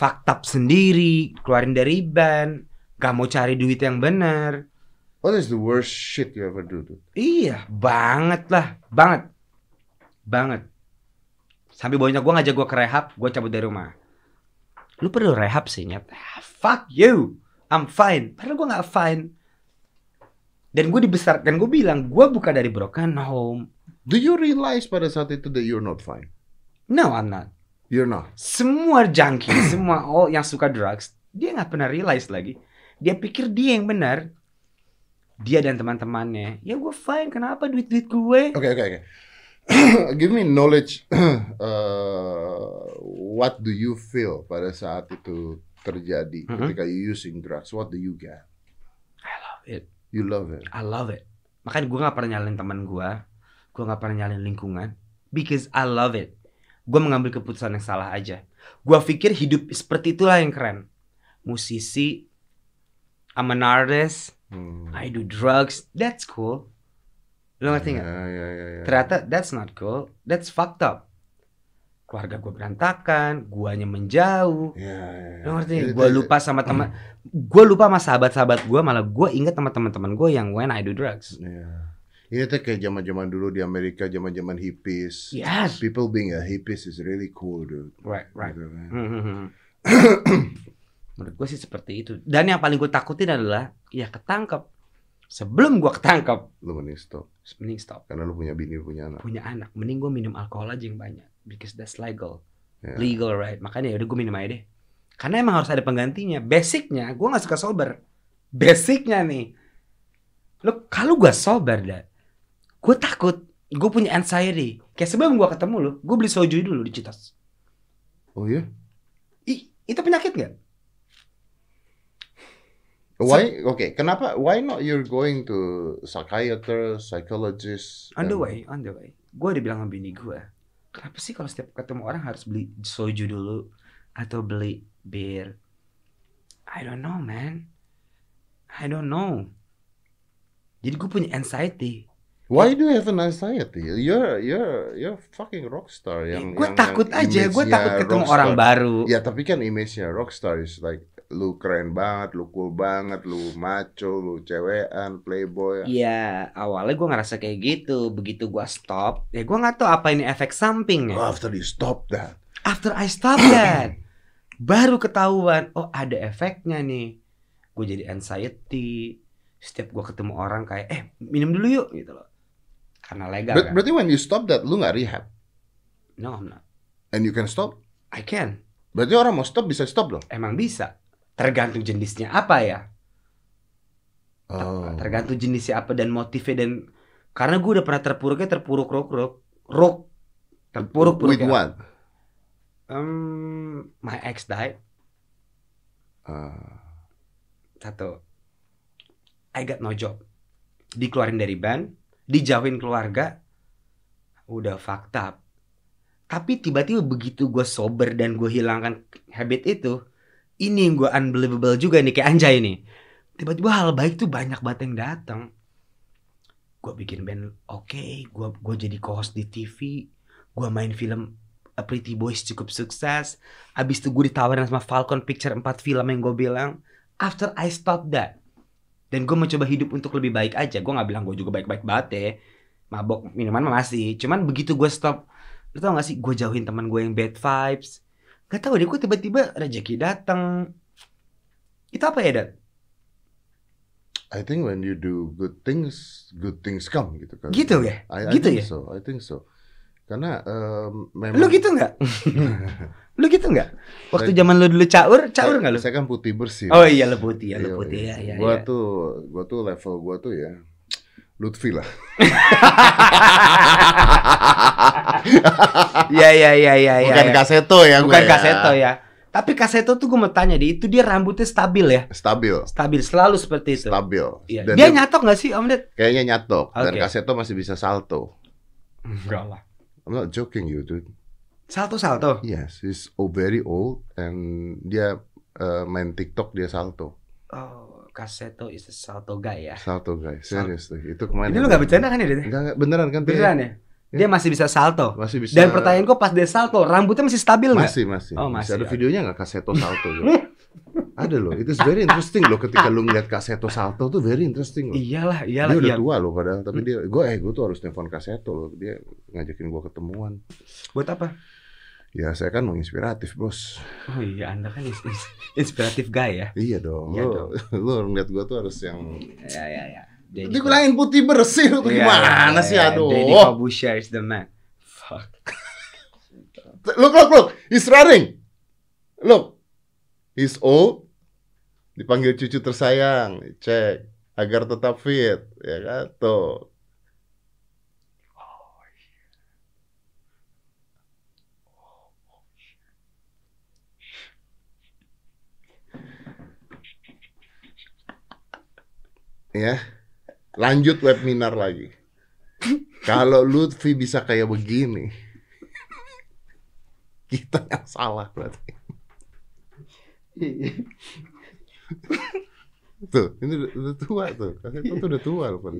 S1: Faktab sendiri, keluarin dari ban, gak mau cari duit yang benar.
S2: What is the worst shit you ever do? Dude?
S1: Iya, banget lah, banget. Banget. Sampai bonyok gue ngajak gue ke rehab, gue cabut dari rumah. Lu perlu rehab sih, Nyet. Ah, Fuck you, I'm fine. Padahal gue gak fine. Dan gue dibesarkan, gue bilang, gue bukan dari broken home.
S2: Do you realize pada saat itu that you're not fine?
S1: No, I'm not.
S2: You're not.
S1: Semua junkie, semua all yang suka drugs, dia gak pernah realize lagi. Dia pikir dia yang benar. Dia dan teman-temannya. Ya gue fine, kenapa duit-duit gue?
S2: Okay, okay, okay. (clears throat) Give me knowledge. (clears throat) uh, what do you feel pada saat itu terjadi
S1: Mhm.
S2: ketika you using drugs? What do you get?
S1: I love it.
S2: You love it.
S1: I love it. Makanya gue gak pernah nyalain teman gue. Gue gak pernah nyalain lingkungan. Because I love it. Gue mengambil keputusan yang salah aja. Gue pikir hidup seperti itulah yang keren. Musisi, I'm an artist,
S2: Hmm.
S1: I do drugs, that's cool. Lo ngerti gak?
S2: Ya, ya, ya, ya.
S1: Ternyata that's not cool, that's fucked up. Keluarga gue berantakan, guanya menjauh.
S2: Ya, ya, ya.
S1: Lo ngerti?
S2: Itu-
S1: Gue
S2: itu-
S1: lupa sama teman, gue lupa sama sahabat-sahabat gue, malah gue inget sama teman-teman gue yang when I do drugs.
S2: Ya. Ini tuh kayak zaman-zaman dulu di Amerika, zaman-zaman hippies.
S1: Yes,
S2: People being a hippies is really cool, dude.
S1: right, right.
S2: Gitu kan.
S1: Mhm. (clears throat) Menurut gue sih seperti itu. Dan yang paling gue takutin adalah ya ketangkep. Sebelum gue ketangkep,
S2: Lu mending stop
S1: mending stop.
S2: karena lu punya bini, lu punya anak.
S1: Punya anak, mending gue minum alkohol aja yang banyak. Because that's legal.
S2: Ya.
S1: Legal right. Makanya ya udah gue minum aja deh. Karena emang harus ada penggantinya. Basicnya gue gak suka sober. Basicnya nih. Lo kalau gue sober dah. Gue takut. Gue punya anxiety.
S2: iya?
S1: Kayak sebelum gue ketemu lo. Gue beli soju dulu di Citos.
S2: Oh ya?
S1: Ih, Itu penyakit nggak?
S2: Why? Okay, kenapa? Why not you're going to psychiatrist, psychologist?
S1: On the
S2: and-
S1: way, on the way. Gue udah bilang sama bini gue, kenapa sih kalau setiap ketemu orang harus beli soju dulu atau beli bir? I don't know, man. I don't know. Jadi gue punya anxiety.
S2: Why do you have an anxiety? You're you're you're fucking rockstar yang.
S1: gue Eh,
S2: yang-
S1: takut
S2: yang
S1: aja, gue
S2: image-nya
S1: takut ketemu
S2: rockstar.
S1: orang baru.
S2: Ya tapi kan image-nya rockstar is like lu keren banget, lu cool banget, lu maco, lu cewekan, playboy.
S1: Iya, awalnya gue ngerasa kayak gitu. Begitu gue stop, ya gue nggak tahu apa ini efek sampingnya.
S2: After you stop that.
S1: After I stop that, baru ketahuan, oh ada efeknya nih. Gue jadi anxiety. Setiap gue ketemu orang kayak, eh minum dulu yuk gitu loh. Karena legal
S2: Ber-
S1: kan.
S2: berarti when you stop that lu nggak rehab
S1: No, I'm not.
S2: and you can stop.
S1: I can.
S2: Berarti orang mau stop bisa stop dong.
S1: Emang bisa. Tergantung jenisnya apa ya.
S2: Oh.
S1: Apa? Tergantung jenisnya apa dan motifnya dan karena gue udah pernah terpuruknya terpuruk rok rok rok terpuruk puruk
S2: With what?
S1: Um, ya. my ex died
S2: Ah.
S1: satu. I got no job. Dikeluarin dari band, dijauhin keluarga, udah fucked up. Tapi tiba-tiba begitu gue sober dan gue hilangkan habit itu, ini yang gue unbelievable juga nih kayak anjay nih. Tiba-tiba hal baik tuh banyak banget yang datang. Gue bikin band oke, gue gua jadi co-host di TV, gue main film A Pretty Boys cukup sukses. Abis itu gue ditawarin sama Falcon Picture 4 film yang gue bilang after I stop that dan gue mencoba hidup untuk lebih baik aja gue nggak bilang gue juga baik-baik banget ya mabok minuman mah masih cuman begitu gue stop lu tau gak sih gue jauhin teman gue yang bad vibes gak tau deh gue tiba-tiba rezeki datang itu apa ya dat
S2: I think when you do good things, good things come gitu kan.
S1: gitu ya
S2: I, I
S1: Gitu ya?
S2: think so. I think so. Karena um, memang
S1: lu
S2: (laughs)
S1: gitu nggak lu gitu nggak waktu zaman lu dulu caur caur nggak lu
S2: Saya kan putih bersih.
S1: oh iya lu putih ya lu putih ya ya,
S2: iya. Gua
S1: ya.
S2: tuh gua tuh level gua tuh ya Lutfi
S1: (laughs)
S2: lah.
S1: ya ya ya ya ya,
S2: Bukan
S1: ya.
S2: kaseto ya gua
S1: bukan
S2: ya.
S1: kaseto ya tapi kaseto tuh gue mau tanya deh itu dia rambutnya stabil ya
S2: Stabil,
S1: stabil selalu seperti itu.
S2: stabil.
S1: Iya.
S2: Dan
S1: Dia,
S2: dia
S1: nyatok nggak sih Om Ded?
S2: kayaknya nyatok dan
S1: Oke.
S2: kaseto masih bisa salto.
S1: Enggak lah.
S2: I'm not joking you dude.
S1: Salto salto.
S2: Yes, he's o- very old and dia uh, main TikTok dia salto.
S1: Oh, Kaseto is a salto guy ya.
S2: Salto guys,
S1: Sal-
S2: seriously. Itu kemarin.
S1: Ini lu nggak bercanda kan ya Ded?
S2: Enggak, enggak, beneran kan? Dia
S1: Beneran ya? Dia masih bisa salto.
S2: masih bisa.
S1: Dan pertanyaan gua pas dia salto, rambutnya masih stabil nggak?
S2: masih masih.
S1: Oh,
S2: masih.
S1: masih,
S2: Ada
S1: oke.
S2: videonya nggak kaseto salto? Jo? Ada loh. Itu very interesting loh ketika lu ngeliat kaseto salto tuh very interesting loh.
S1: Iyalah,
S2: Dia
S1: iyalah.
S2: udah
S1: Iya.
S2: tua loh padahal, tapi dia, gue eh gue tuh harus telepon kaseto loh. Dia ngajakin gue ketemuan.
S1: Buat apa?
S2: Ya saya kan mau inspiratif bos.
S1: Oh iya, Anda kan is- is- inspirative guy ya.
S2: Iya dong.
S1: Iya
S2: lu, (laughs) lu ngeliat gue tuh harus yang.
S1: Ya ya ya. Jadi
S2: Dibilangin putih bersih
S1: Iya,
S2: lu tuh gimana sih aduh.
S1: Deddy Corbuzier is the man. Fuck.
S2: Look, look, look. He's running. Look. He's old. Dipanggil cucu tersayang. Cek. Agar tetap fit. Ya kan? Tuh. Ya. Lanjut webinar lagi. Kalau Lutfi bisa kayak begini kita yang salah berarti
S1: Iya,
S2: tuh ini udah, udah tua tuh kakek itu udah tua loh
S1: Iya.
S2: Pan.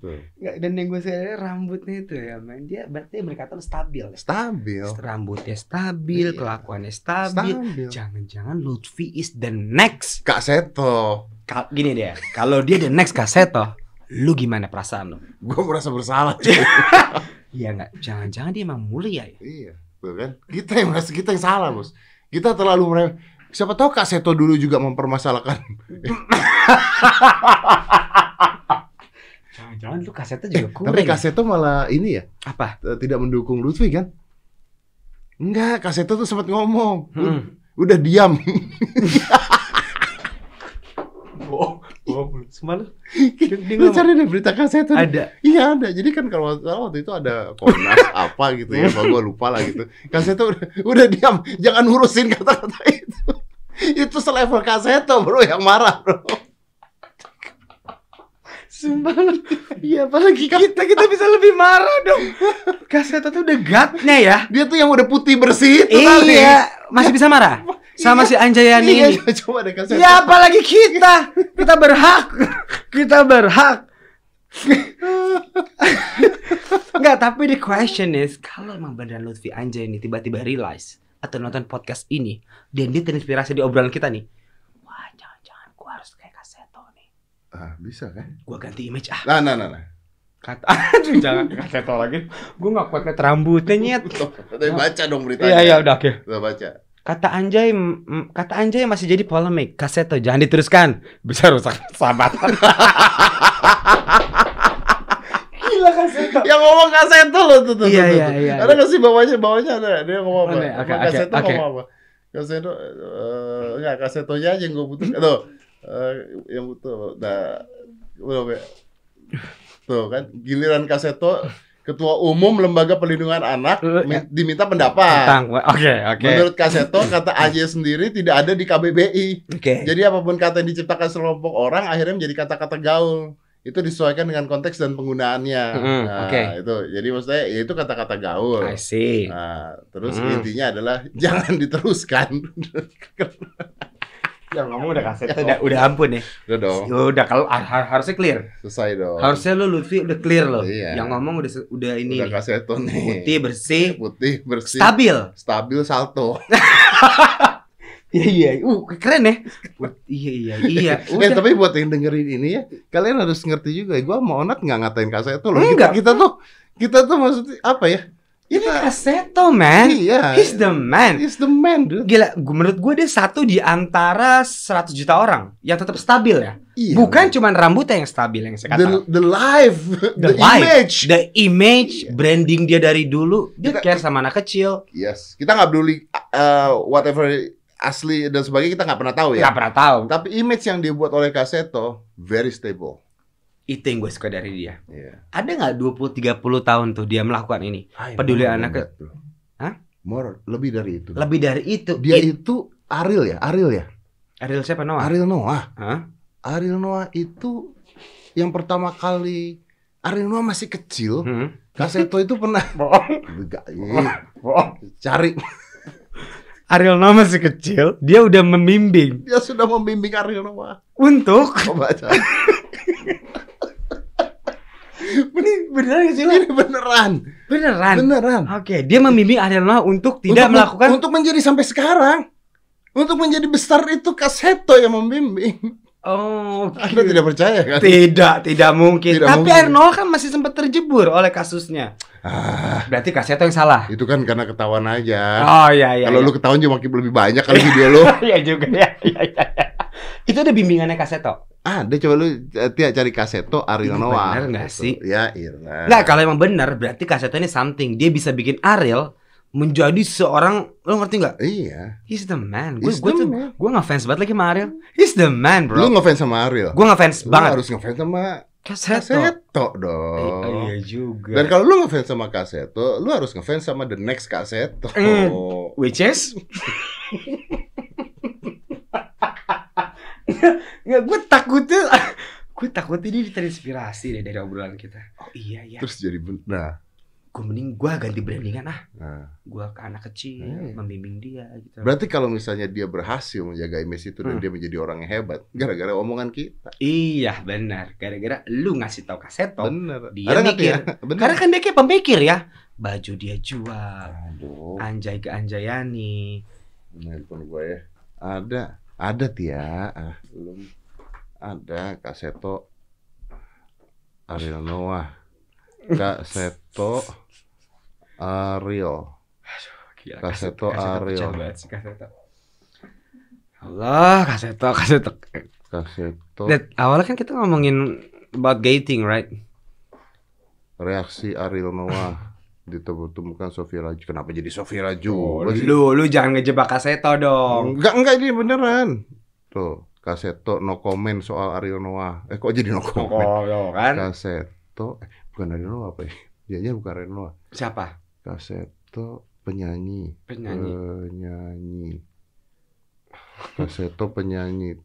S2: Tuh.
S1: Nggak, dan yang gue sadar rambutnya itu ya, man. Dia berarti berkata stabil. ya.
S2: stabil
S1: Rambutnya stabil,
S2: Iya.
S1: kelakuannya stabil.
S2: stabil
S1: Jangan-jangan Lutfi is the next.
S2: kak Seto
S1: Ka- Gini
S2: (laughs)
S1: deh, kalau dia the next Kaseto, lu gimana perasaan lu?
S2: gue merasa bersalah cuy.
S1: Iya nggak? Jangan-jangan dia emang mulia ya?
S2: iya tuh kan kita yang merasa kita yang salah bos kita terlalu mere- siapa tahu kak Seto dulu juga mempermasalahkan
S1: Jangan-jangan lu Kaseto juga Iya, kurang.
S2: Eh,
S1: ya?
S2: tapi kak Seto malah ini ya
S1: Apa?
S2: t- tidak mendukung Lutfi kan Enggak, Kak Seto tuh sempat ngomong.
S1: Hmm.
S2: Udah diam. Oh,
S1: Bohong, bohong. Sumpah lu. Dia- dia
S2: Lu
S1: ngomong,
S2: cari deh berita kaset tuh.
S1: ada
S2: Iya ada. Jadi kan kalau nggak salah waktu itu ada
S1: (laughs)
S2: Komnas apa gitu ya, apa gue lupa lah gitu. Kaseto udah, udah diam, jangan urusin kata-kata itu. Itu selevel Kaseto bro yang marah bro.
S1: Sumpah (laughs) Iya apalagi kita Kita bisa lebih marah dong Kaseta tuh udah gatnya ya
S2: Dia tuh yang udah putih bersih itu kali.
S1: Iya Masih bisa
S2: (laughs)
S1: marah Sama si Anjayani
S2: Iya,
S1: ini
S2: (laughs) coba deh Kaseto.
S1: Ya apalagi kita Kita berhak Kita berhak Enggak tapi the question is Kalau emang badan Lutfi Anjay ini tiba-tiba realize Atau nonton podcast ini Dan dia terinspirasi di obrolan kita nih Wah jangan-jangan gue harus kayak Kaseto nih
S2: Ah, bisa kan?
S1: Gue ganti image ah
S2: Nah, nah, nah, nah.
S1: kata (laughs) aduh jangan ke kata lagi gue gak kuat liat rambutnya nyet
S2: Udah baca dong beritanya.
S1: iya iya udah oke
S2: Udah baca.
S1: kata anjay mm, kata anjay masih jadi polemik kaseto jangan diteruskan bisa rusak (laughs) sahabatan gila kaseto
S2: Yang ngomong Kaseto lo tuh tuh.
S1: Iya,
S2: tuh,
S1: iya,
S2: tuh.
S1: iya,
S2: Ada nggak sih bawahnya bawahnya ada dia ngomong apa?
S1: Ada,
S2: Apa
S1: oke, oke,
S2: Kaseto
S1: oke.
S2: ngomong apa? Kaseto eh, enggak Kasetonya aja yang gue butuh. Tuh eh, yang butuh. Nah, belum ya. Tuh kan giliran Kaseto Ketua Umum Lembaga Pelindungan Anak
S1: Eh,
S2: min- diminta pendapat.
S1: tentang oke oke
S2: Menurut Kaseto kata Aji sendiri tidak ada di KBBI.
S1: oke
S2: Jadi apapun kata yang diciptakan sekelompok orang akhirnya menjadi kata-kata gaul. Itu disesuaikan dengan konteks dan penggunaannya.
S1: Mm,
S2: Nah,
S1: oke.
S2: itu. Jadi maksudnya ya itu kata-kata gaul.
S1: I see
S2: Nah, terus
S1: Mm.
S2: intinya adalah (laughs) jangan diteruskan. Ya,
S1: yang ngomong udah kaseto udah, udah ampun ya
S2: Udah dong,
S1: udah kalau har- har- harusnya clear
S2: selesai dong.
S1: harusnya lu Lutfi udah clear loh
S2: Oh. Iya.
S1: yang ngomong udah se- udah ini
S2: udah
S1: nih.
S2: kaseto nih.
S1: putih bersih
S2: Putih, bersih,
S1: stabil
S2: stabil, salto.
S1: Iya iya, uh keren ya. Buat- iya iya iya.
S2: (laughs) Eh,
S1: Udah.
S2: tapi buat yang dengerin ini ya, kalian harus ngerti juga. ya, Gua mau onat nggak ngatain kaseto loh.
S1: Enggak.
S2: Kita, kita tuh, kita tuh maksudnya apa ya?
S1: Ini
S2: Kita,
S1: Kaseto man,
S2: iya.
S1: he's the man.
S2: He's the man, dude.
S1: Gila, gu- menurut gue dia satu di antara 100 juta orang yang tetap stabil ya.
S2: Iya,
S1: Bukan cuman rambutnya yang stabil yang saya kata.
S2: the, the life, the,
S1: life,
S2: image. Iya.
S1: the image, branding dia dari dulu, dia
S2: Kita-
S1: care sama anak kecil.
S2: Yes, kita nggak peduli uh, whatever asli dan sebagainya kita nggak pernah tahu
S1: Nggak
S2: ya.
S1: pernah tahu.
S2: Tapi image yang dibuat oleh Kaseto very stable.
S1: Itu yang gue suka dari dia.
S2: Iya.
S1: Ada nggak 20-30 tahun tuh dia melakukan ini? Peduli anak ke- Hah?
S2: More lebih dari itu.
S1: Lebih dari itu.
S2: Dia
S1: It-
S2: itu Ariel ya, Ariel ya,
S1: Ariel siapa Noah?
S2: Ariel Noah.
S1: Hah?
S2: Ariel Noah itu yang pertama kali Ariel Noah masih kecil.
S1: Hmm.
S2: Kaseto itu pernah
S1: Bohong,
S2: Enggak, ih,
S1: bohong.
S2: cari
S1: Ariel Noah masih kecil, dia udah membimbing
S2: dia sudah membimbing Ariel Noah.
S1: untuk
S2: Coba cari.
S1: ini beneran gak sih
S2: (laughs) Ini beneran,
S1: beneran
S2: beneran.
S1: oke dia membimbing Ariel Noah untuk Kan. tidak
S2: Untuk-
S1: melakukan
S2: untuk menjadi sampai sekarang untuk menjadi besar itu Kaseto yang membimbing
S1: (laughs) oh oke.
S2: Anda tidak percaya kan
S1: tidak tidak mungkin
S2: Tidak
S1: tapi
S2: mungkin.
S1: Ariel Noah kan masih sempat terjebur oleh kasusnya
S2: ah,
S1: berarti kaseto yang salah
S2: itu kan karena ketahuan aja
S1: oh ya ya
S2: kalau
S1: (laughs) ya.
S2: lu ketahuan cuma lebih banyak kali video
S1: (laughs)
S2: lu
S1: ya juga ya, ya, ya, ya. itu ada bimbingannya kaseto
S2: ah dia coba lu eh, Tia cari Kaseto
S1: Ini
S2: Ariel Noah
S1: bener nggak sih?
S2: ya Irna
S1: nggak kalau emang benar berarti kaseto ini something dia bisa bikin Ariel menjadi seorang lo ngerti nggak
S2: iya
S1: he's the man gue
S2: He's
S1: gue
S2: the
S1: tuh
S2: man.
S1: gue ngefans banget lagi sama Ariel he's the man
S2: lu
S1: bro
S2: ngefans sama Ariel
S1: gue ngefans
S2: lu
S1: banget
S2: harus ngefans sama
S1: kaseto
S2: Kaseto
S1: I-
S2: dong
S1: Iya juga.
S2: dan kalau lu ngefans sama Kaseto, lu harus ngefans sama the next Kaseto.
S1: Mm. which is Nggak, gue takutnya gue takutnya dia terinspirasi deh dari obrolan kita. Oh iya iya.
S2: Terus jadi ben- nah,
S1: Gue mending gue ganti brandingan ah.
S2: nah.
S1: Gue ke anak kecil
S2: Iya.
S1: membimbing dia gitu.
S2: Berarti kalau misalnya dia berhasil menjaga image itu dan
S1: Hmm.
S2: dia menjadi orang yang hebat gara-gara omongan kita.
S1: iya benar. Gara-gara lu ngasih tau kaseto.
S2: Bener.
S1: Dia
S2: nggak tuh
S1: mikir.
S2: (laughs) Bener.
S1: Karena kan dia kayak pemikir ya. Baju dia jual.
S2: Aduh,
S1: Anjay ke Anjayani.
S2: handphone gua ya. Ada, ada Tia. Ah, belum. Ada Kaseto Ariel Noah. Kaseto Ariel.
S1: Gila,
S2: Kaseto
S1: kaset- kaset
S2: Ariel.
S1: pecah banget sih, kaseto. Allah, kaseto, kaseto.
S2: Kaseto
S1: That, awalnya kan kita ngomongin about gating, right?
S2: reaksi Ariel Noah ditemukan Sofia Laju. Kenapa jadi Sofia Laju?
S1: Oh, lu, lu jangan ngejebak kaseto dong.
S2: Enggak, enggak ini beneran. Tuh. Kaseto no comment soal Ariel Noah. Eh kok
S1: (laughs)
S2: jadi no comment?
S1: Kok kan?
S2: Kaseto eh bukan Ariel Noah apa ya? Dianya bukan Ariel Noah.
S1: Siapa?
S2: Kaseto penyanyi.
S1: Penyanyi.
S2: Penyanyi. Kaseto penyanyi.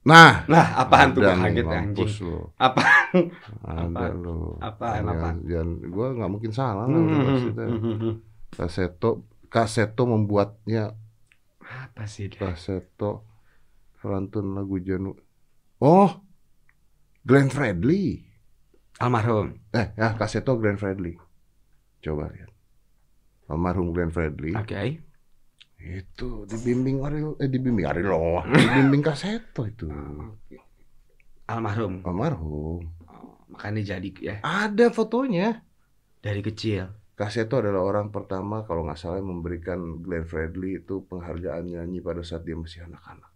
S2: Nah,
S1: Lah, apaan tuh gua
S2: ada nih,
S1: kaget anjing.
S2: mampus lo.
S1: Apa?
S2: Ada
S1: Apaan?
S2: lo.
S1: Apaan, apaan?
S2: Jangan, gua nggak mungkin salah lah. udah pasti dah.
S1: Hmm.
S2: Kaseto, Kaseto membuatnya
S1: Apa sih? dia?
S2: Kaseto rantun lagu Janu. Oh, Glenn Fredly.
S1: Almarhum.
S2: Eh, ya Kaseto Glenn Fredly. Coba lihat. Almarhum Glenn Fredly.
S1: Oke.
S2: Itu dibimbing Ariel, eh dibimbing Ariel loh. Dibimbing Kaseto itu.
S1: Almarhum. Oh,
S2: Almarhum.
S1: Makanya jadi ya
S2: Ada fotonya.
S1: dari kecil.
S2: Kaseto adalah orang pertama kalau nggak salah yang memberikan Glenn Fredly itu penghargaan nyanyi pada saat dia masih anak-anak.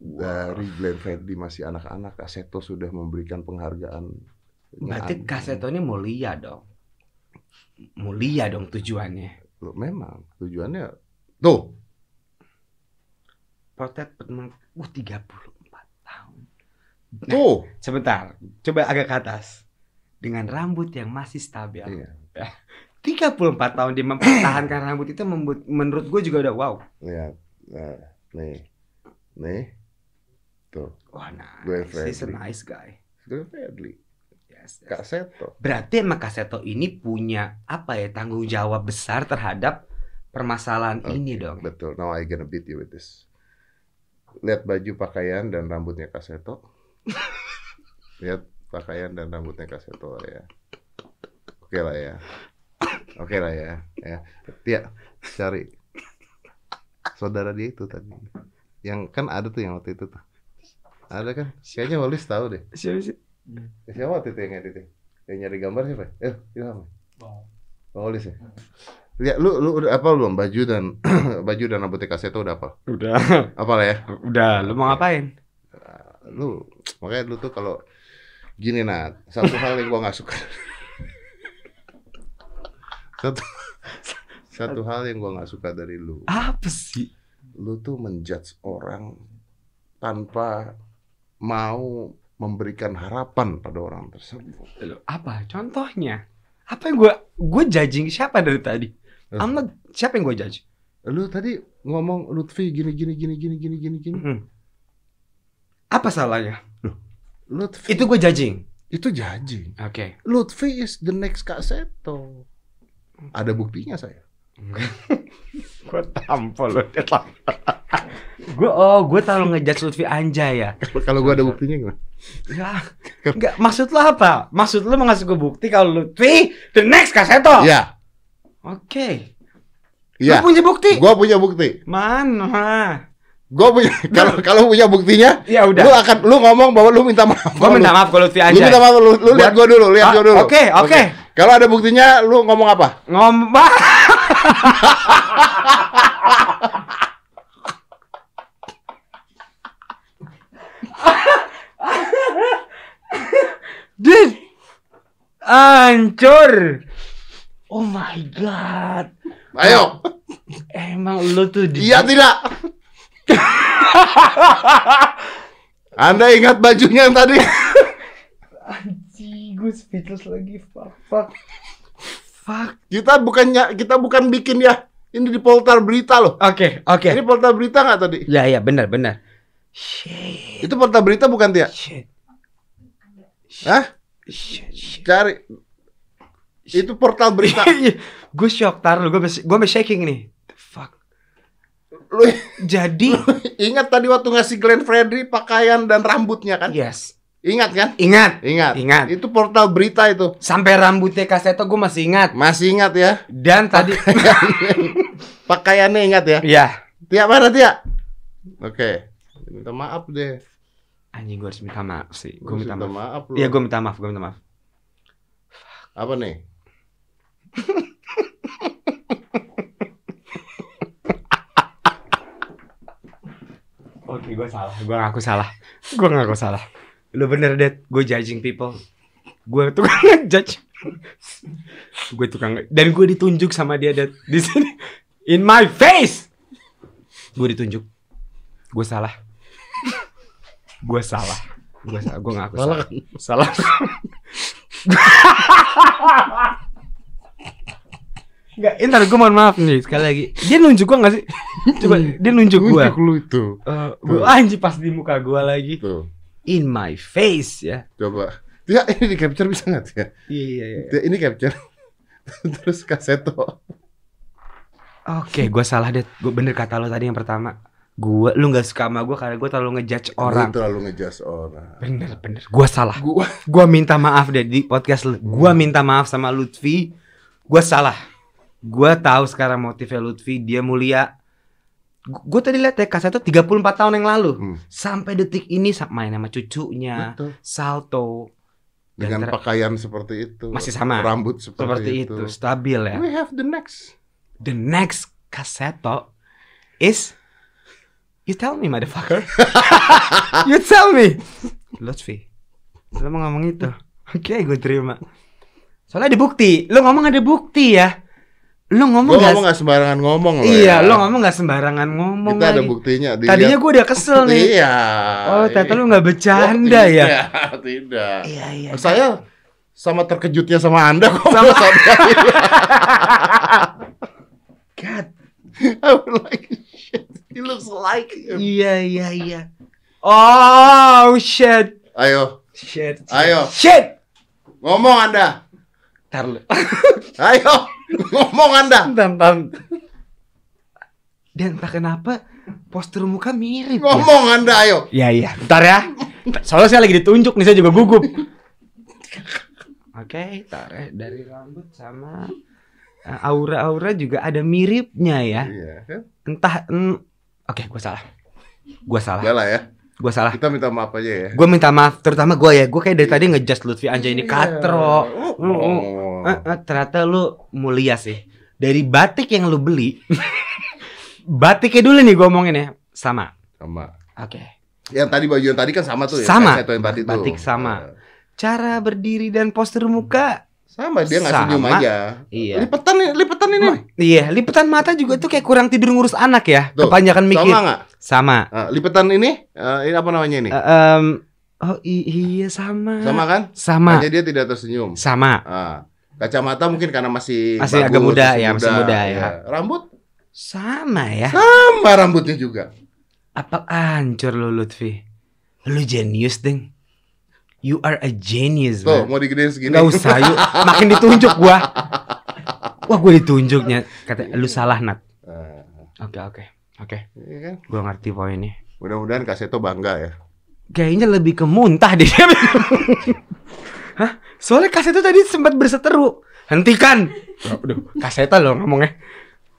S2: Dari Glenn Fredly masih anak-anak, Kaseto sudah memberikan penghargaan.
S1: Berarti kaseto ini mulia dong. Mulia dong tujuannya.
S2: Loh, memang tujuannya tuh
S1: Protect teman. Wah, 34 tahun.
S2: tuh
S1: Sebentar, coba agak ke atas. Dengan rambut yang masih stabil. Ya.
S2: Iya.
S1: 34 tahun dia mempertahankan rambut itu membuat, menurut gue juga udah wow.
S2: lihat nah, nih nih tuh
S1: Wah,
S2: Gue
S1: nice.
S2: friendly.
S1: He's a nice guy.
S2: Glenn Fredly
S1: Yes, yes.
S2: Kaseto
S1: Berarti emang Kaseto ini punya apa ya tanggung jawab besar terhadap permasalahan
S2: Oke,
S1: ini dong.
S2: betul now I gonna beat you with this lihat baju pakaian dan rambutnya Kaseto lihat pakaian dan rambutnya Kaseto lah ya oke lah ya oke lah ya ya Tia cari saudara dia itu tadi yang kan ada tuh yang waktu itu tuh ada kan kayaknya Walis tahu deh
S1: Siapa sih?
S2: Siapa waktu itu yang edit ya? Yang nyari gambar siapa? Eh, Ilham. ya? Bang Olis ya? Lihat, lu lu udah apa belum baju dan (clears throat) baju dan rambut kaset udah apa?
S1: Udah,
S2: Apa lah ya?
S1: udah. Lu mau ngapain?
S2: Lu makanya lu tuh kalau gini Nat, satu hal yang gua nggak suka. (laughs) satu satu hal yang gua nggak suka dari lu.
S1: Apa sih?
S2: Lu tuh menjudge orang tanpa mau memberikan harapan pada orang tersebut.
S1: Lu, Apa? Contohnya? Apa yang gue gue judging siapa dari tadi?
S2: Eh.
S1: I'm not- siapa yang gue judge?
S2: lu tadi ngomong Lutfi gini gini gini gini gini gini gini
S1: Mm-mm. Apa salahnya?
S2: Lutfi
S1: Itu
S2: itu
S1: gue judging.
S2: itu judging
S1: Oke.
S2: Lutfi is the next Kak Seto ada buktinya
S1: (laughs)
S2: saya
S1: gue tampol lu Gue oh gue terlalu ngejudge Lutfi Anjay ya.
S2: kalau gua ada buktinya gimana
S1: Ya, enggak maksud lo apa? Maksud lo mau ngasih gue bukti kalau Lutfi the next kaseto?
S2: ya
S1: Oke.
S2: ya
S1: Lo punya bukti?
S2: gua punya bukti
S1: Mana?
S2: gua punya kalau kalau punya buktinya
S1: Ya
S2: lu
S1: udah.
S2: akan lu ngomong bahwa lu minta maaf
S1: Gue minta maaf kalau Lutfi
S2: lu
S1: Anjay.
S2: minta maaf lu, lu lihat gua dulu lihat
S1: Ah,
S2: gua dulu
S1: Oke, oke.
S2: kalau ada buktinya lu ngomong apa
S1: (laughs) Ngomong. Dude. Ancur. Oh my god.
S2: ayo
S1: Emang lu tuh di-
S2: iya
S1: (laughs)
S2: tidak Anda ingat bajunya yang tadi?
S1: Anjing, gue speechless lagi. Fuck, fuck. Fuck.
S2: Kita bukannya kita bukan bikin ya. Ini di poltar berita loh.
S1: Oke,
S2: Ini
S1: oke.
S2: poltar berita nggak tadi?
S1: Ya, ya, benar, benar. Shit.
S2: Itu poltar berita bukan Tia?
S1: Shit.
S2: Hah?
S1: Shit, shit.
S2: Cari. Itu portal
S1: (laughs)
S2: berita.
S1: gue Iya, shock taruh gue gue shaking nih The fuck
S2: Lu
S1: jadi
S2: ingat tadi waktu ngasih Glenn Fredly pakaian dan rambutnya kan?
S1: yes
S2: Ingat kan?
S1: ingat
S2: Ingat.
S1: Iya. Ingat.
S2: Itu portal berita itu.
S1: sampai rambutnya kaseto gue masih ingat
S2: Masih ingat
S1: (laughs)
S2: ya?
S1: dan
S2: (laughs)
S1: tadi
S2: Pakaiannya ingat ya?
S1: ya
S2: Tia mana Tia? Oke. Minta maaf deh.
S1: anjing gue harus minta maaf sih gue
S2: Terus
S1: minta maaf
S2: maaf lu.
S1: Iya gue minta maaf gue minta maaf
S2: Apa nih?
S1: oke gue salah gue ngaku salah gue ngaku salah lu bener deh gue judging people gue tukang ngejudge gue tukang nge- dan gue ditunjuk sama dia Dad. di sini in my face gue ditunjuk gue salah gue salah gue salah gue ngaku
S2: Salah
S1: salah salah nggak entar gue mohon maaf nih sekali lagi dia nunjuk gue nggak sih coba dia nunjuk gue
S2: Tunjuk lu itu.
S1: Eh, gue anjir pas di muka gue lagi
S2: Tuh,
S1: in my face ya
S2: coba. Ya ini di capture bisa nggak ya?
S1: iya iya iya
S2: Ya, ini capture. (laughs) Terus kaseto.
S1: oke gue salah deh gue bener kata lo tadi yang pertama gue lu nggak suka sama gue karena gue terlalu ngejudge orang
S2: Lu terlalu ngejudge orang.
S1: bener bener gue salah
S2: Gua
S1: Gua minta maaf deh di podcast lu. Gua minta maaf sama Lutfi. Gua salah. Gua tahu sekarang motifnya Lutfi, dia mulia. Gu- Gua tadi lihat ya kaset itu 34 tahun yang lalu.
S2: Hmm.
S1: Sampai detik ini sa- main sama cucunya,
S2: Betul.
S1: Salto Dan
S2: Dengan
S1: ter-
S2: pakaian seperti itu.
S1: Masih sama.
S2: Rambut seperti,
S1: seperti
S2: itu.
S1: itu. stabil ya.
S2: We have the next.
S1: The next Kaseto is You tell me motherfucker. you tell me. Lutfi. Lo mau ngomong itu. Oke, gue terima. Soalnya ada bukti. Lo ngomong ada bukti ya. Lo ngomong
S2: Lo
S1: nggak-
S2: ngomong gak sembarangan ngomong lo
S1: Iya,
S2: ya.
S1: lo ngomong gak sembarangan ngomong
S2: Kita ada ya.
S1: lagi.
S2: buktinya. dilihat.
S1: Tadinya gue udah kesel nih.
S2: Iya.
S1: Oh, ternyata lo gak
S2: Anda
S1: bercanda ya.
S2: (laughs) Tidak.
S1: Iya, iya.
S2: Saya sama terkejutnya sama Anda kok.
S1: Sama-
S2: (laughs) Sama.
S1: God.
S2: like shit. He looks like him.
S1: Iya, iya, iya. Oh, shit.
S2: Ayo,
S1: Shit. shit.
S2: Ayo.
S1: Shit.
S2: ngomong Anda.
S1: Ntar lu.
S2: Ayo, ngomong Anda.
S1: Tentang Dan entah kenapa postur muka mirip. ya.
S2: Ngomong Anda, ayo.
S1: Ya iya, bentar ya. Soalnya saya lagi ditunjuk nih, saya juga gugup. Oke, tarik dari rambut sama eh, aura-aura juga ada miripnya ya.
S2: Iya, kan?
S1: Entah mm, oke, gua salah. Gua salah.
S2: Udah lah ya.
S1: Gua salah.
S2: Kita minta maaf aja ya.
S1: Gua minta maaf terutama gua ya. Gua kayak dari tadi ngejudge Lutfi anjay ini katro.
S2: Iya.
S1: Mm, mm.
S2: Oh.
S1: Eh, eh, ternyata lu mulia sih. Dari batik yang lu beli, batiknya dulu nih gue omongin ya, sama.
S2: Sama.
S1: Oke.
S2: Yang tadi baju yang tadi kan sama tuh ya.
S1: Sama.
S2: Kayak satu yang tadi tuh. Nah,
S1: Batik sama. Cara berdiri dan postur muka,
S2: Sama dia nggak
S1: Sama.
S2: senyum aja.
S1: Iya.
S2: Lipetan nih, lipetan ini.
S1: Ma- iya. Lipetan mata juga tuh kayak kurang tidur ngurus anak ya,
S2: Tuh,
S1: kebanyakan mikir.
S2: Sama
S1: Sama.
S2: nggak? Eh, lipetan ini, eh, ini apa namanya ini?
S1: Eh, em, oh i- iya sama.
S2: sama kan?
S1: Sama.
S2: Hanya dia tidak tersenyum.
S1: Sama.
S2: Ah, kacamata mungkin karena masih Iya,
S1: Masih agak muda, ya, masih muda, ya.
S2: Rambut
S1: Sama ya.
S2: sama rambutnya juga.
S1: Apa ancur lu Lutfi? Lu genius ding. You are a genius. man.
S2: Tuh, mau digedein segini.
S1: Gak Iya. usah yuk Makin ditunjuk gua Wah gua ditunjuknya Kata lu salah Nat
S2: Ah,
S1: Oke oke Oke
S2: iya kan?
S1: Gua ngerti poinnya
S2: Mudah-mudahan Kaseto bangga ya.
S1: Kayaknya lebih ke muntah deh (laughs) dia Hah? Soalnya Kaseto tadi sempat berseteru Hentikan Aduh Kaseto loh ngomongnya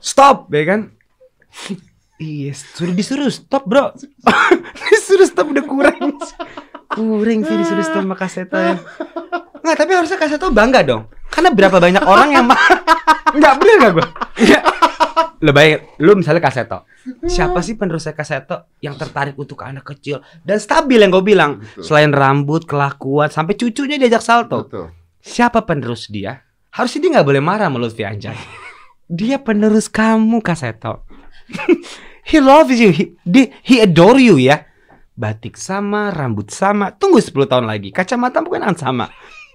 S1: Stop ya kan (laughs) Iya suruh disuruh stop bro (laughs) Disuruh stop udah kurang Kuring sih disuruh stop sama Kaseto ya Nggak, tapi harusnya Kaseto bangga dong. Karena berapa banyak orang yang (laughs) ma- Nggak, bener nggak gue? Lo bayangin, lu misalnya Kaseto. Siapa sih penerusnya Kaseto yang tertarik untuk anak kecil dan stabil yang gue bilang?
S2: Betul.
S1: Selain rambut, kelakuan, sampai cucunya diajak salto.
S2: Betul.
S1: Siapa penerus dia? Harusnya dia nggak boleh marah sama Lutfi Anjay. Dia penerus kamu, Kaseto. (laughs) he loves you. He, dia- he adore you ya. Batik sama, rambut sama. Tunggu 10 tahun lagi. Kacamata mungkin akan sama.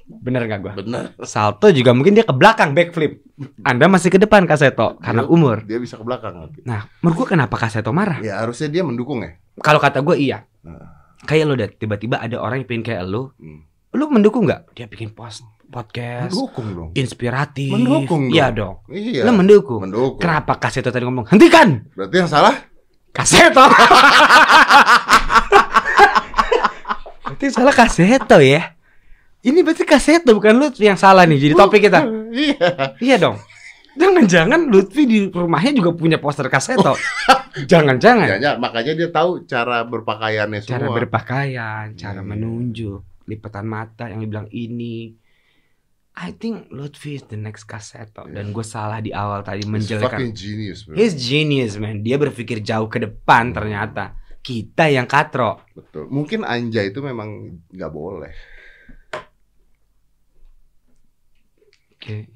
S1: Bener gak gua?
S2: Benar.
S1: Salto juga mungkin dia ke belakang backflip. Anda masih ke depan Kaseto karena
S2: Dia-
S1: umur.
S2: Dia bisa ke belakang nanti.
S1: Nah, menurut gua kenapa Kaseto marah?
S2: Ya harusnya dia mendukung ya.
S1: Kalau kata gua iya.
S2: Nah.
S1: Kayak lo deh, tiba-tiba ada orang yang pengen kayak lo.
S2: Hmm.
S1: Lo mendukung nggak? Dia bikin post podcast
S2: Mendukung dong.
S1: inspiratif.
S2: Mendukung
S1: Iya dong.
S2: Iya.
S1: Lo mendukung.
S2: Mendukung.
S1: Kenapa Kaseto tadi ngomong hentikan?
S2: Berarti yang salah (laughs)
S1: Kaseto. berarti salah Kaseto ya. Ini berarti Kaseto bukan Lutfi yang salah nih jadi topik kita.
S2: (laughs) iya.
S1: Iya dong. Jangan-jangan Lutfi di rumahnya juga punya poster
S2: (laughs)
S1: Kaseto. Jangan-jangan.
S2: Jangan, Iya, makanya dia tahu cara berpakaiannya
S1: Nah. Cara
S2: semua.
S1: berpakaian, cara
S2: Iya.
S1: menunjuk, lipatan mata yang dibilang ini. I think Lutfi is the next Kaseto dan gue salah di awal tadi
S2: Iya. He's
S1: menjelekkan
S2: fucking genius, bro.
S1: He's genius man. Dia berpikir jauh ke depan ternyata. Kita yang katro.
S2: Betul. Mungkin anja itu memang nggak boleh.
S1: (laughs) Oke.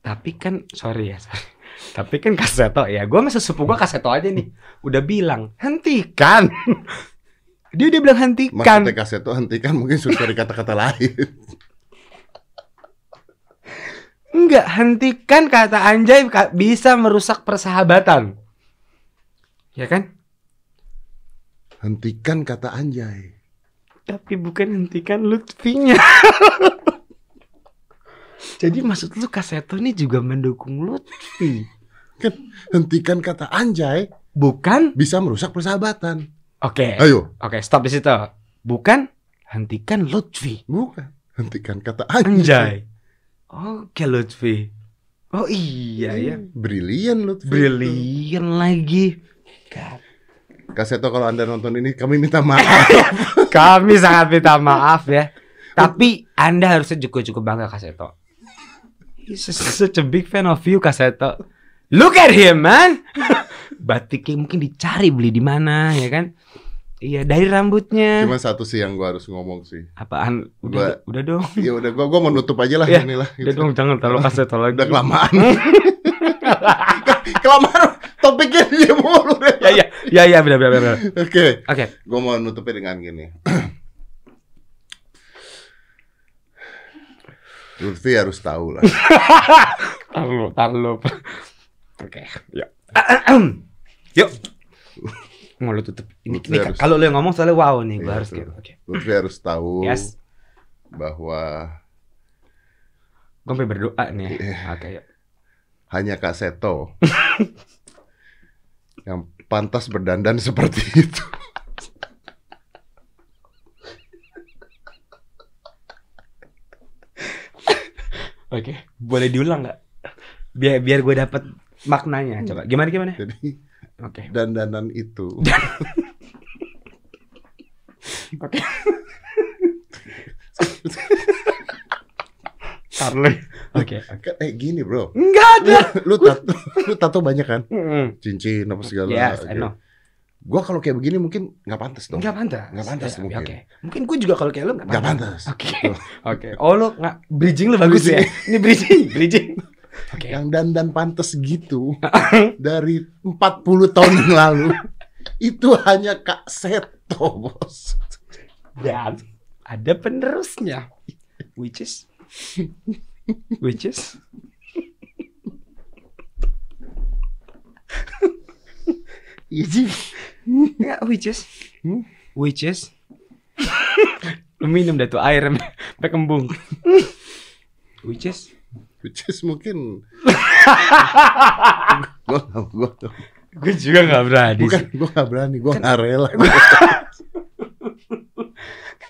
S1: Tapi kan sorry ya. sorry. Tapi kan kaseto ya. Gue sama sesepuh gue kaseto aja nih. Udah bilang hentikan. (laughs) Dia udah bilang hentikan.
S2: Maksudnya kaset tuh hentikan mungkin susah dari kata-kata
S1: (laughs)
S2: lain.
S1: Enggak, hentikan kata anjay ka- bisa merusak persahabatan. Ya kan?
S2: Hentikan kata anjay.
S1: Tapi bukan hentikan Lutfinya. (laughs) Jadi maksud lu kaseto ini juga mendukung Lutfi.
S2: Hentikan kata anjay
S1: Bukan?
S2: bisa merusak persahabatan.
S1: Oke.
S2: Ayo,
S1: Oke, stop di situ. Bukan hentikan Lutfi.
S2: bukan. Hentikan kata anjay.
S1: Anjay. Oke, Lutfi. Oh iya ya.
S2: Brilian lu.
S1: Brilian lagi.
S2: Kaseto kalau Anda nonton ini kami minta
S1: (laughs)
S2: maaf.
S1: Kami sangat minta maaf ya. Tapi Anda harusnya cukup-cukup bangga Kaseto. He's such a big fan of you Kaseto. Look at him (laughs) man. Batiknya mungkin dicari beli di mana ya kan? Iya dari rambutnya.
S2: Cuma satu sih yang gua harus ngomong sih.
S1: Apaan? Udah, udah dong.
S2: Ya udah gua gua menutup aja lah
S1: Ya,
S2: inilah.
S1: Udah dong Hmm. jangan terlalu Kaseto lagi.
S2: Gitu. Udah kelamaan. (laughs) kelamaan topiknya dia mulu. Ren.
S1: Ya ya ya ya benar benar benar.
S2: Oke.
S1: Oke.
S2: Gue mau nutupnya dengan gini. (clears throat) Lutfi harus tahu lah.
S1: Tar lu, tar lu. Oke, ya. yuk. yuk. Mau lu tutup. Ini, ini
S2: Harus.
S1: kalau lu yang ngomong soalnya wow nih, gua
S2: Iya,
S1: harus
S2: betul.
S1: kayak oke.
S2: Lutfi harus tahu
S1: Yes.
S2: bahwa
S1: Gua sampai berdoa nih. ya. Ah,
S2: Iya.
S1: Oke, yuk.
S2: hanya Kak
S1: (laughs)
S2: Seto yang pantas berdandan seperti itu.
S1: Oke, boleh diulang nggak? Biar biar gua dapat
S2: Hmm.
S1: maknanya. Coba gimana gimana?
S2: Jadi
S1: Oke.
S2: dandanan itu.
S1: Oke. Tar lu. Oke.
S2: Kan, eh gini bro,
S1: Enggak ada.
S2: lu tato, lu tato banyak kan?
S1: Mm-mm.
S2: Cincin apa segala.
S1: Yes, I
S2: gitu.
S1: know.
S2: Gua kalau kayak begini mungkin nggak pantas dong.
S1: Enggak pantas.
S2: Nggak pantas
S1: Ya,
S2: mungkin.
S1: Oke. Mungkin gue juga kalau kayak lu
S2: Nggak pantas.
S1: Oke. Oke. Oh lu nggak bridging lu bagus
S2: Bridging.
S1: ya. Ini bridging, bridging. Oke.
S2: yang dandan pantas
S1: (laughs)
S2: gitu dari 40 tahun yang lalu itu hanya Kak Seto bos
S1: Dan ada penerusnya. Which is which is
S2: Iji
S1: Enggak, which is
S2: Hmm?
S1: which is lu (laughs) minum dah tuh air (laughs) sampai kembung. which is
S2: which is
S1: (laughs)
S2: mungkin gua gua
S1: gue juga nggak berani
S2: bukan
S1: sih.
S2: gua gak berani gua
S1: Kan-
S2: gak rela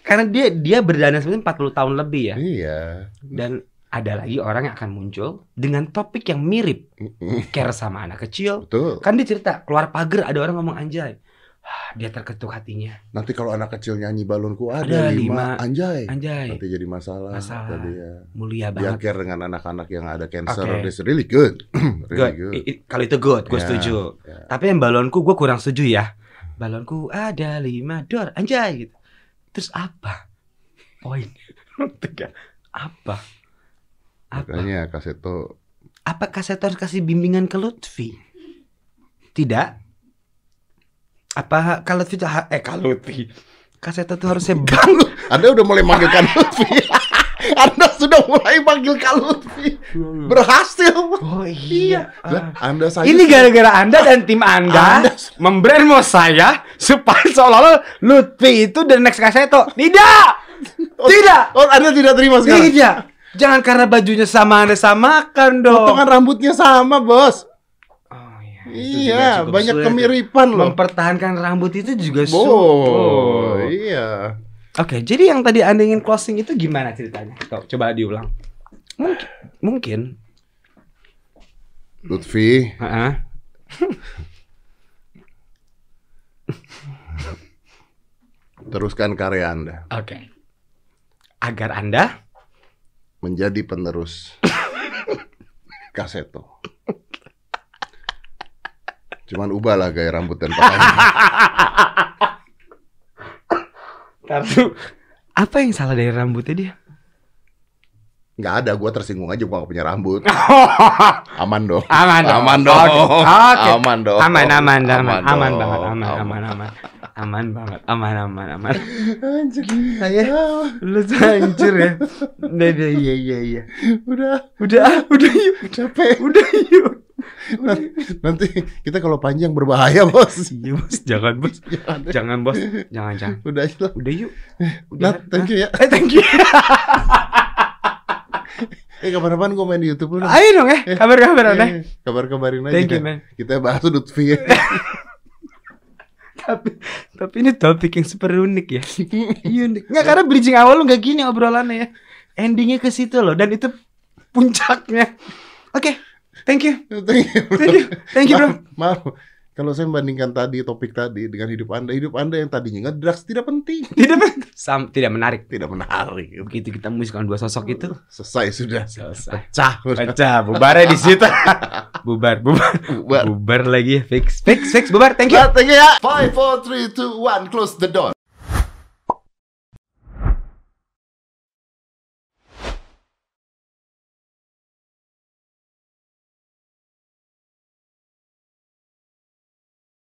S1: karena dia dia berdana sebenarnya 40 tahun lebih ya
S2: iya
S1: dan ada lagi orang yang akan muncul dengan topik yang mirip
S2: Mm-mm.
S1: care sama anak kecil
S2: betul
S1: kan dia cerita keluar pagar ada orang ngomong anjay Ah, dia terketuk hatinya
S2: nanti kalau anak kecil nyanyi balonku
S1: Ada
S2: ada, lima,
S1: lima.
S2: anjay
S1: anjay
S2: nanti jadi masalah,
S1: Masalah.
S2: tadi ya
S1: mulia
S2: dia
S1: banget
S2: care dengan anak-anak yang ada cancer
S1: Oke.
S2: it's really good (clears throat) really
S1: good.
S2: good,
S1: I- i- kalau itu good gue
S2: Ya,
S1: setuju
S2: ya.
S1: tapi yang balonku gue kurang setuju ya balonku ada lima dor anjay gitu terus apa poin (laughs) Tiga. apa apa
S2: makanya Kak Seto
S1: Apakah saya harus kasih bimbingan ke Lutfi? Tidak. Apa kalau Lutfi tuh ha- eh kalau Lutfi? Kaseto tuh
S2: (laughs)
S1: harusnya bang.
S2: Anda udah mulai manggil Kak Lutfi. (laughs) Anda sudah mulai manggil Kak Lutfi. Berhasil.
S1: Oh Hmm. iya.
S2: Iya. Lah, Anda
S1: Ah.
S2: saja.
S1: Ini gara-gara Anda dan tim Anda,
S2: Anda-
S1: memberi mau saya supaya seolah-olah Lutfi itu the next Kaseto. Tidak. Tidak.
S2: Oh, Anda tidak terima sekarang.
S1: Tidak. Jangan karena bajunya sama Anda samakan dong.
S2: Potongan rambutnya sama, Bos.
S1: Oh, iya, Itu juga
S2: Iya,
S1: cukup
S2: banyak
S1: sulit. ya.
S2: kemiripan loh.
S1: Mempertahankan rambut itu juga
S2: Oh,
S1: sulit.
S2: iya.
S1: Oke, jadi yang tadi Anda ingin closing itu gimana ceritanya? Kau coba diulang. Mungkin, mungkin.
S2: Lutfi,
S1: Heeh.
S2: teruskan karya Anda
S1: Oke. Agar Anda
S2: menjadi
S1: (laughs)
S2: penerus Kak Seto. Cuman ubahlah gaya rambut dan pakaian.
S1: (laughs) Tartu. Apa yang salah dari rambutnya dia?
S2: nggak ada gue tersinggung aja gue nggak punya
S1: (laughs)
S2: rambut aman dong
S1: aman dong.
S2: aman dong
S1: Oke. Oke.
S2: aman dong
S1: Aman, aman, aman, aman
S2: dong.
S1: banget, aman, aman, aman, aman banget, aman, aman, aman.
S2: Anjir.
S1: Saya lu tuh hancur ya. Udah, udah, iya, iya, iya.
S2: udah
S1: Udah, ah, udah yuk,
S2: capek
S1: udah iya. yuk.
S2: nanti kita kalau panjang berbahaya (laughs) bos
S1: Iya bos, jangan bos,
S2: Jangan.
S1: jangan bos, jangan jangan.
S2: udah aja lah
S1: Udah yuk.
S2: Nat, thank you ya
S1: Eh, thank
S2: (laughs)
S1: you.
S2: eh kapan-kapan gue main di YouTube lu Nat.
S1: Ayo dong ya, kabar-kabar aneh.
S2: Eh, kabar-kabarin aja
S1: Thank you,
S2: Nat.
S1: man.
S2: kita bahas
S1: (laughs)
S2: Lutfi
S1: Tapi, tapi ini topik yang super unik ya. unik. Nggak karena bridging awal lu nggak gini obrolannya ya. Endingnya ke situ loh dan itu puncaknya. Oke, thank you,
S2: thank you bro.
S1: thank you, thank (laughs) you bro.
S2: maaf, maaf. kalau saya membandingkan tadi topik tadi dengan hidup anda hidup anda yang tadinya ngedrugs tidak penting
S1: Tidak, men- Sam, tidak menarik.
S2: tidak menarik
S1: Begitu kita musikan dua sosok itu,
S2: selesai sudah
S1: selesai.
S2: pecah udah
S1: Pecah, bubarnya di situ. (laughs) bubar, bubar,
S2: bubar
S1: bubar lagi ya. Fix, fix, fix, bubar. Thank you.
S2: Nah, thank you ya. Five, four, three, two, one, close the door.